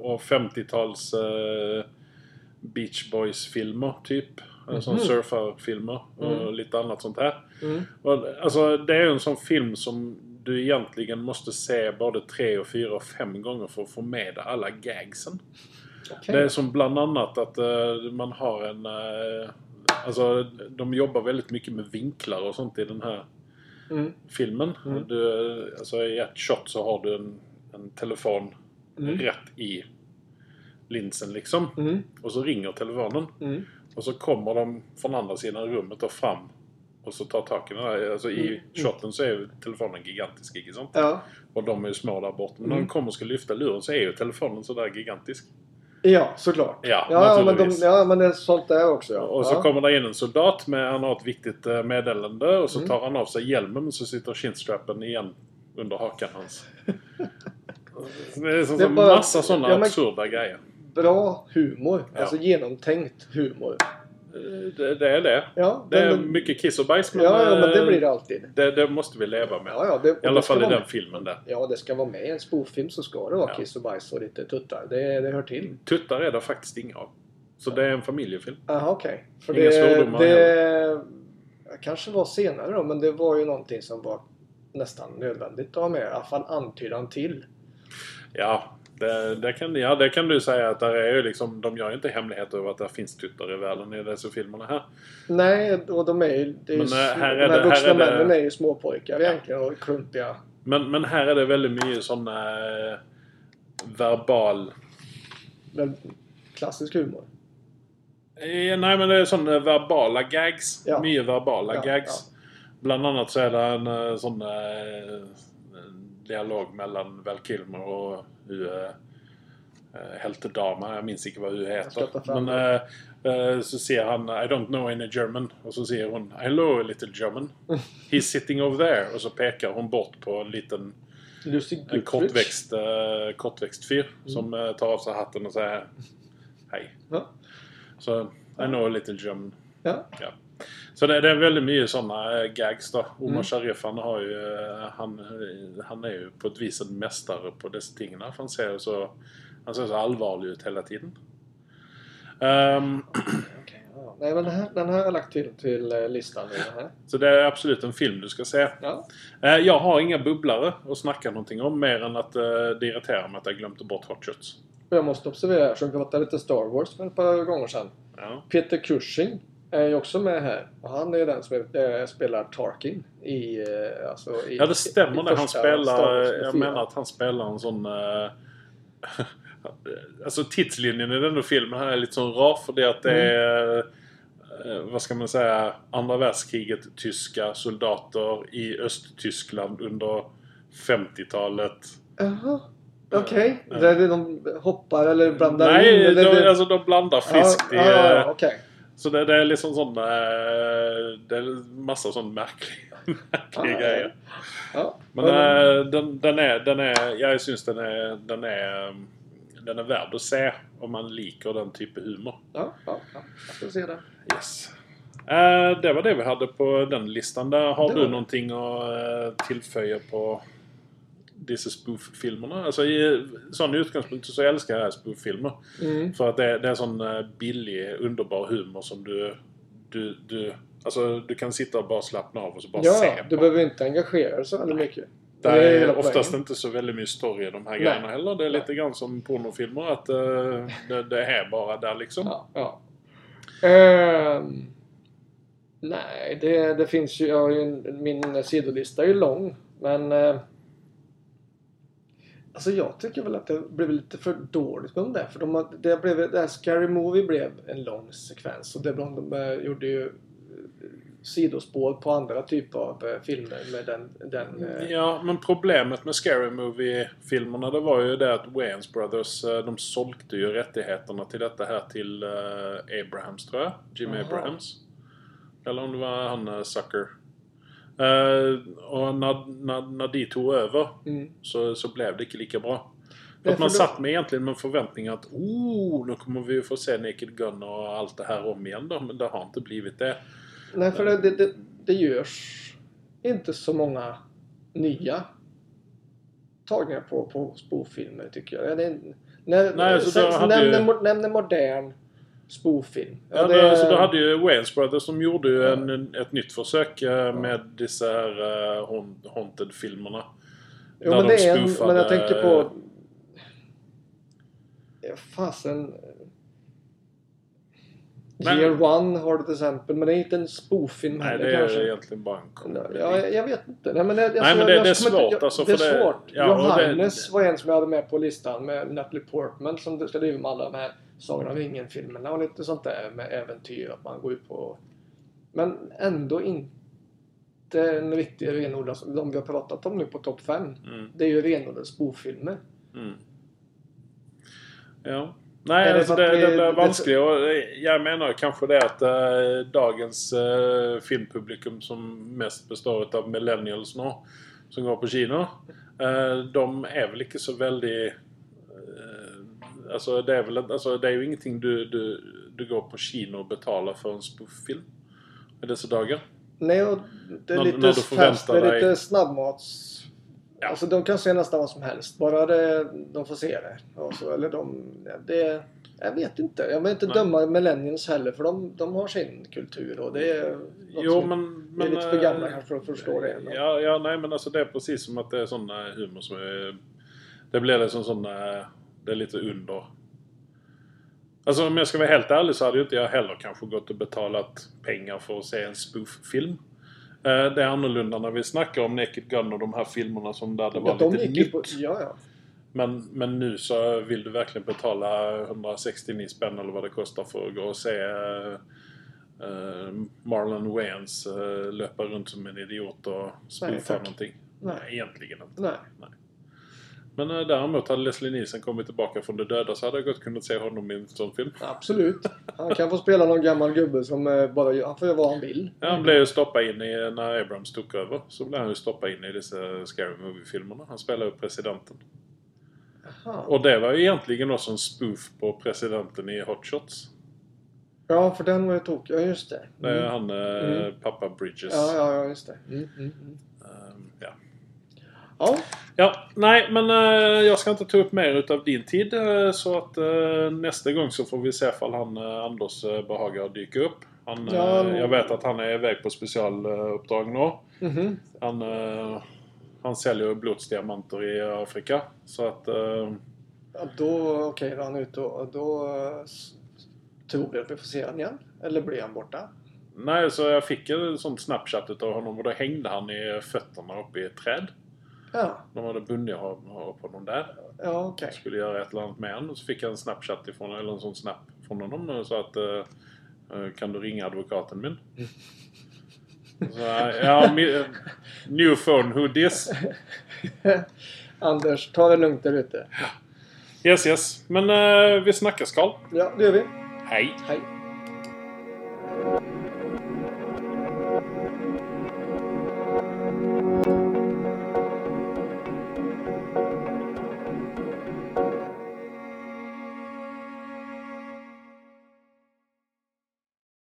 S1: och 50-tals eh, Beach Boys-filmer, typ. Mm. Som
S2: Mhm.
S1: surfarfilmer och
S2: Mm.
S1: lite annat sånt här.
S2: Mm.
S1: Och, alltså, det är ju en sån film som du egentligen måste se både tre och fyra och fem gånger för att få med dig alla gagsen.
S2: Okej.
S1: Det är som bland annat att eh, man har en... eh, alltså, de jobbar väldigt mycket med vinklar och sånt i den här
S2: Mm.
S1: filmen.
S2: Mm.
S1: Du, alltså I ett shot så har du en, en telefon
S2: Mm.
S1: rätt i linsen liksom.
S2: Mm.
S1: Och så ringer telefonen.
S2: Mm.
S1: Och så kommer de från andra sidan rummet och fram. Och så tar tag i den här. Alltså i
S2: Mm.
S1: shoten så är ju telefonen gigantisk. Inte sant?
S2: Ja.
S1: Och de är ju små där borta. Men när
S2: Mm.
S1: de kommer och ska lyfta luren så är ju telefonen sådär gigantisk.
S2: ja, såklart.
S1: Ja,
S2: Ja, ja, men de,
S1: naturligtvis.
S2: ja, men det är sånt där också. Ja.
S1: Och
S2: ja.
S1: så kommer det in en soldat med han har ett viktigt eh, meddelande och så
S2: Mm.
S1: tar han av sig hjälmen men så sitter chinstrappen igen under hakan hans. Det är, sån,
S2: Det är
S1: sån
S2: bara-
S1: massa sådana
S2: ja, men-
S1: absurda grejer.
S2: Bra humor.
S1: Ja.
S2: Alltså genomtänkt humor.
S1: Eh, Det, det är det.
S2: Ja,
S1: Det är
S2: den-
S1: mycket kiss och bajs men,
S2: ja, ja, men det
S1: eh,
S2: blir det alltid.
S1: det, det måste vi leva med.
S2: Ja, ja, det,
S1: I alla
S2: det ska
S1: fall i
S2: vara
S1: den
S2: med.
S1: filmen där.
S2: Ja, det ska vara med i en spoof-film så ska det vara
S1: Ja.
S2: kiss och bajs och lite tuttar. Det, det hör till.
S1: Tuttar är det faktiskt inga av. Så det är en familjefilm.
S2: Jaha, okej. För
S1: Inga
S2: det,
S1: svordomar
S2: det kanske var senare då, men det var ju någonting som var nästan nödvändigt att ha med. I alla fall antydan till.
S1: Ja, det, det, kan, ja, det kan du säga att där är ju liksom, de gör ju inte hemligheter över att det finns tuttar i världen i dessa filmerna här.
S2: Nej, och de är ju... Det är ju
S1: Men, eh, här är
S2: de här
S1: det- här
S2: vuxna
S1: är det-
S2: männen är ju småpojkar egentligen och klumpiga.
S1: Men, men här är det väldigt mycket sådana eh, verbal
S2: Väl, klassisk humor.
S1: Eh, Nei, men det er sånne verbale gags.
S2: Ja.
S1: Mye verbale
S2: Ja,
S1: gags. Blant annet så er det en eh, sånn eh, en dialog mellom Val Kilmer og hun eh, heltedama. Jeg minnes ikke hva hun
S2: skal
S1: heter.
S2: ta fram
S1: Men eh, eh, så sier han 'I don't know any German', og så sier hun 'Hello, little German'. 'He's sitting over there'. Og så peker hun bort på en liten
S2: Lucy
S1: en
S2: Goodrich.
S1: kortvekst, eh, kortvekst fyr som eh, tar av seg hatten og sier 'hei'.
S2: Mm. Ja.
S1: Så I know a little German.
S2: Ja.
S1: Ja. Så det, det er veldig mye sånne eh, gags. da.
S2: Mm.
S1: Omar Sharif han, har jo, eh, han, han er jo på et vis en mester på disse tingene. For han ser jo så, han ser så alvorlig ut hele tiden. Ehm,
S2: Okej, ja. Nej, men den här, den här har jag lagt till till eh, listan. nu, Den här.
S1: så det er absolutt en film du skal se.
S2: Ja.
S1: Eh, Jeg har ingen bubblere å snakke noe om, mer enn at eh, det irriterer meg at jeg glemte bort hot shots.
S2: Och jag måste observera, eftersom vi pratade lite Star Wars för ett par gånger sedan.
S1: Ja.
S2: Peter Cushing är ju också med här. Och han är ju den som är, eh, spelar Tarkin i... eh, Alltså, i
S1: Ja, det stämmer
S2: i
S1: det. Han
S2: första Star
S1: spelar...
S2: Wars
S1: Jag
S2: fyra.
S1: menar att han spelar en sån... eh, alltså tidslinjen i den här filmen här är lite sån rar för det att det
S2: Mm.
S1: är... eh, vad ska man säga? Andra världskriget tyska soldater i Östtyskland under 50-talet.
S2: Jaha. Okej.
S1: Ja.
S2: Det är det de hoppar eller blandar in?
S1: Nej, de,
S2: Eller det...
S1: alltså de blandar friskt
S2: ja,
S1: i...
S2: ja,
S1: eh,
S2: ja, okej.
S1: Så det, det är liksom sån... eh, det är massa sån märklig, märklig
S2: Ja, ja.
S1: grejer.
S2: Ja.
S1: Men
S2: Ja,
S1: eh, den, den, är, den är... Jag syns den är, den är... um, Den är värd att se om man liker den typen humor.
S2: ja, ja, ja. Jag ska se det.
S1: Yes. Eh, det var det vi hade på den listan. Där har
S2: Det
S1: du
S2: var det.
S1: någonting att eh, tillföja på disse spoof-filmerna? Alltså i sån utgångspunkt så älskar jag spoof-filmer.
S2: Mm.
S1: För att det, det är sån eh, billig, underbar humor som du... du, du Alltså du kan sitta och bara slappna av och så bara se
S2: Ja,
S1: på.
S2: du behöver inte engagera dig så väldigt mycket.
S1: Det
S2: Det är
S1: er
S2: hela
S1: oftast
S2: poängen.
S1: inte så veldig mye story i de her
S2: Nei.
S1: greiene heller. Det er litt grann som pornofilmer. At eh, det, det er bare der, liksom.
S2: Ja, ja. Ehm, nej, det, det finns ju, jag har ju en, min sidolista är ju lång. Men eh, alltså jag tycker väl att det blev lite för dåligt med de där. För de, har- det, blev, det här Scary Movie blev en lång sekvens. Och det blev, de eh, gjorde ju eh, sidospår på andra typer av eh, filmer med den... den eh,
S1: Ja, men problemet med Scary Movie-filmerna det var ju det att Wayans Brothers eh, de sålde ju rättigheterna till detta här till eh, Abrahams, tror jag. Jim
S2: Jaha.
S1: Abrahams. Eller om det var han eh, Sucker. Eh, och när, när, när de tog över
S2: Mm.
S1: så, så blev det inte lika bra.
S2: Nej,
S1: Att man
S2: för då-
S1: satt med egentligen med förväntningar att oh, nu kommer vi få se Naked Gun och allt det här om igen då, men det har inte blivit det.
S2: Nej, för det, det, det, det görs inte så många nya tagningar på, på spoof-filmer tycker jag. Det är, när,
S1: Nej, så då hade
S2: nämn,
S1: ju-
S2: en mo- nämn en modern spoof-film.
S1: Ja, det, så då hade ju Wayans Brothers som gjorde ju en, en, ett nytt försök eh, med dessa här eh, haunt- Haunted-filmerna.
S2: jo,
S1: där
S2: men
S1: de
S2: det är en,
S1: spoofade-
S2: men jag tänker
S1: eh,
S2: på... Fasen...
S1: Men-
S2: Year One har du till exempel, men det är inte en spoof-film
S1: Nej,
S2: heller
S1: det är
S2: kanske.
S1: ju egentligen bara en komedi.
S2: Ja, jag, jag vet inte. Nej, men det, alltså,
S1: Nej, men det-
S2: jag,
S1: det är
S2: jag kommer
S1: svårt,
S2: jag,
S1: alltså,
S2: det
S1: för det-
S2: är svårt.
S1: ja, och det-
S2: Johannes var en som jag hade med på listan med Natalie Portman som ställde med alla de här Sagan om ingen-filmerna och lite sånt där med äventyr. Att man går ut på... Men ändå inte en riktig renodlad... som De vi har pratat om nu på topp 5.
S1: Mm,
S2: Det är ju renodlade spofilmer.
S1: mm. Ja. Nej,
S2: Är det
S1: alltså
S2: för
S1: det,
S2: att
S1: det,
S2: vi-
S1: blir
S2: det-
S1: vanskligt. Och eh, jag menar kanske det att eh, dagens eh, filmpublikum som mest består av millennials nå, som går på kino, eh, de är väl inte så väldigt... eh, alltså, det är väl, inte- alltså det är ju ingenting du, du, du går på kino och betalar för en spoof-film i dessa dagar.
S2: Nej, och det är
S1: När-
S2: lite
S1: när du förväntar
S2: fast, det är
S1: dig-
S2: lite snabbmats...
S1: Ja.
S2: Alltså de kan se nästan vad som helst. Bara det, de får se det. Och så, eller de... ja, Det, jag vet inte. Jag vill inte
S1: Nej.
S2: döma millennials heller för de, de har sin kultur och det är... något
S1: Jo,
S2: som-
S1: men...
S2: Vi
S1: men,
S2: är lite för gamla
S1: eh,
S2: kanske för att förstå det. Men,
S1: Ja, ja, nej men alltså det är precis som att det är sån eh, humor som är... Det blir liksom sån... eh, Det är lite under. Alltså om jag ska vara helt ärlig så hade ju inte jag heller kanske gått och betalat pengar för att se en spoof-film. Eh, Det är annorlunda när vi snackar om Naked Gun och de här filmerna som där det var
S2: ja, de
S1: lite
S2: gick ju
S1: nytt.
S2: på, ja, ja.
S1: Men, men nu så vill du verkligen betala 169 spänn eller vad det kostar för att gå och se eh, Marlon Wayans eh, löpa runt som en idiot och spy för
S2: tack.
S1: någonting.
S2: Nej.
S1: Nej, egentligen inte.
S2: Nej.
S1: Men eh, däremot hade Leslie Nielsen kommit tillbaka från de döda så hade jag gott kunnat se honom i en sån film.
S2: Absolut. Han kan få spela någon gammal gubbe som eh, bara gör- Han får göra vad han vill.
S1: Ja, han blev ju stoppad in i, när Abrams tog över, så blev han ju stoppad in i dessa Scary Movie-filmerna. Han spelade ju presidenten.
S2: Aha.
S1: Och det var ju egentligen också en spoof på presidenten i Hot Shots.
S2: Ja, för den var ju tokig. Ja, just det.
S1: Det är
S2: Mm.
S1: han, eh,
S2: Mm.
S1: pappa Bridges.
S2: Ja, ja, ja, just det. Mm, mm, mm.
S1: Ehm, ja.
S2: Ja,
S1: Ja, nej men eh, jag ska inte ta upp mer utav din tid eh, så att eh, nästa gång så får vi se ifall han eh, Anders eh, behagar dyka upp. Han, eh,
S2: Ja,
S1: jag vet att han är iväg på specialuppdrag nu.
S2: Mhm.
S1: Han, eh, han säljer blodsdiamanter i Afrika. Så att eh,
S2: ja då okej, då är han ute och då eh, s- tror jag att vi får se honom igen. Eller blir han borta?
S1: Nej, så jag fick en sån snapchat utav honom och då hängde han i fötterna uppe i ett träd.
S2: Ja,
S1: De hade bundit ho- upp honom där.
S2: ja okej.
S1: skulle göra ett eller annat med honom. Så fick jag en snapchat ifrån, eller en sån snap från honom och sa att eh, eh, Kan du ringa advokaten min? Så, ja, mi- eh, new phone, who this?
S2: Anders, ta det lugnt där ute.
S1: Yes, yes. Men eh, vi snackas Karl.
S2: Ja, det gör vi.
S1: Hej!
S2: Hej.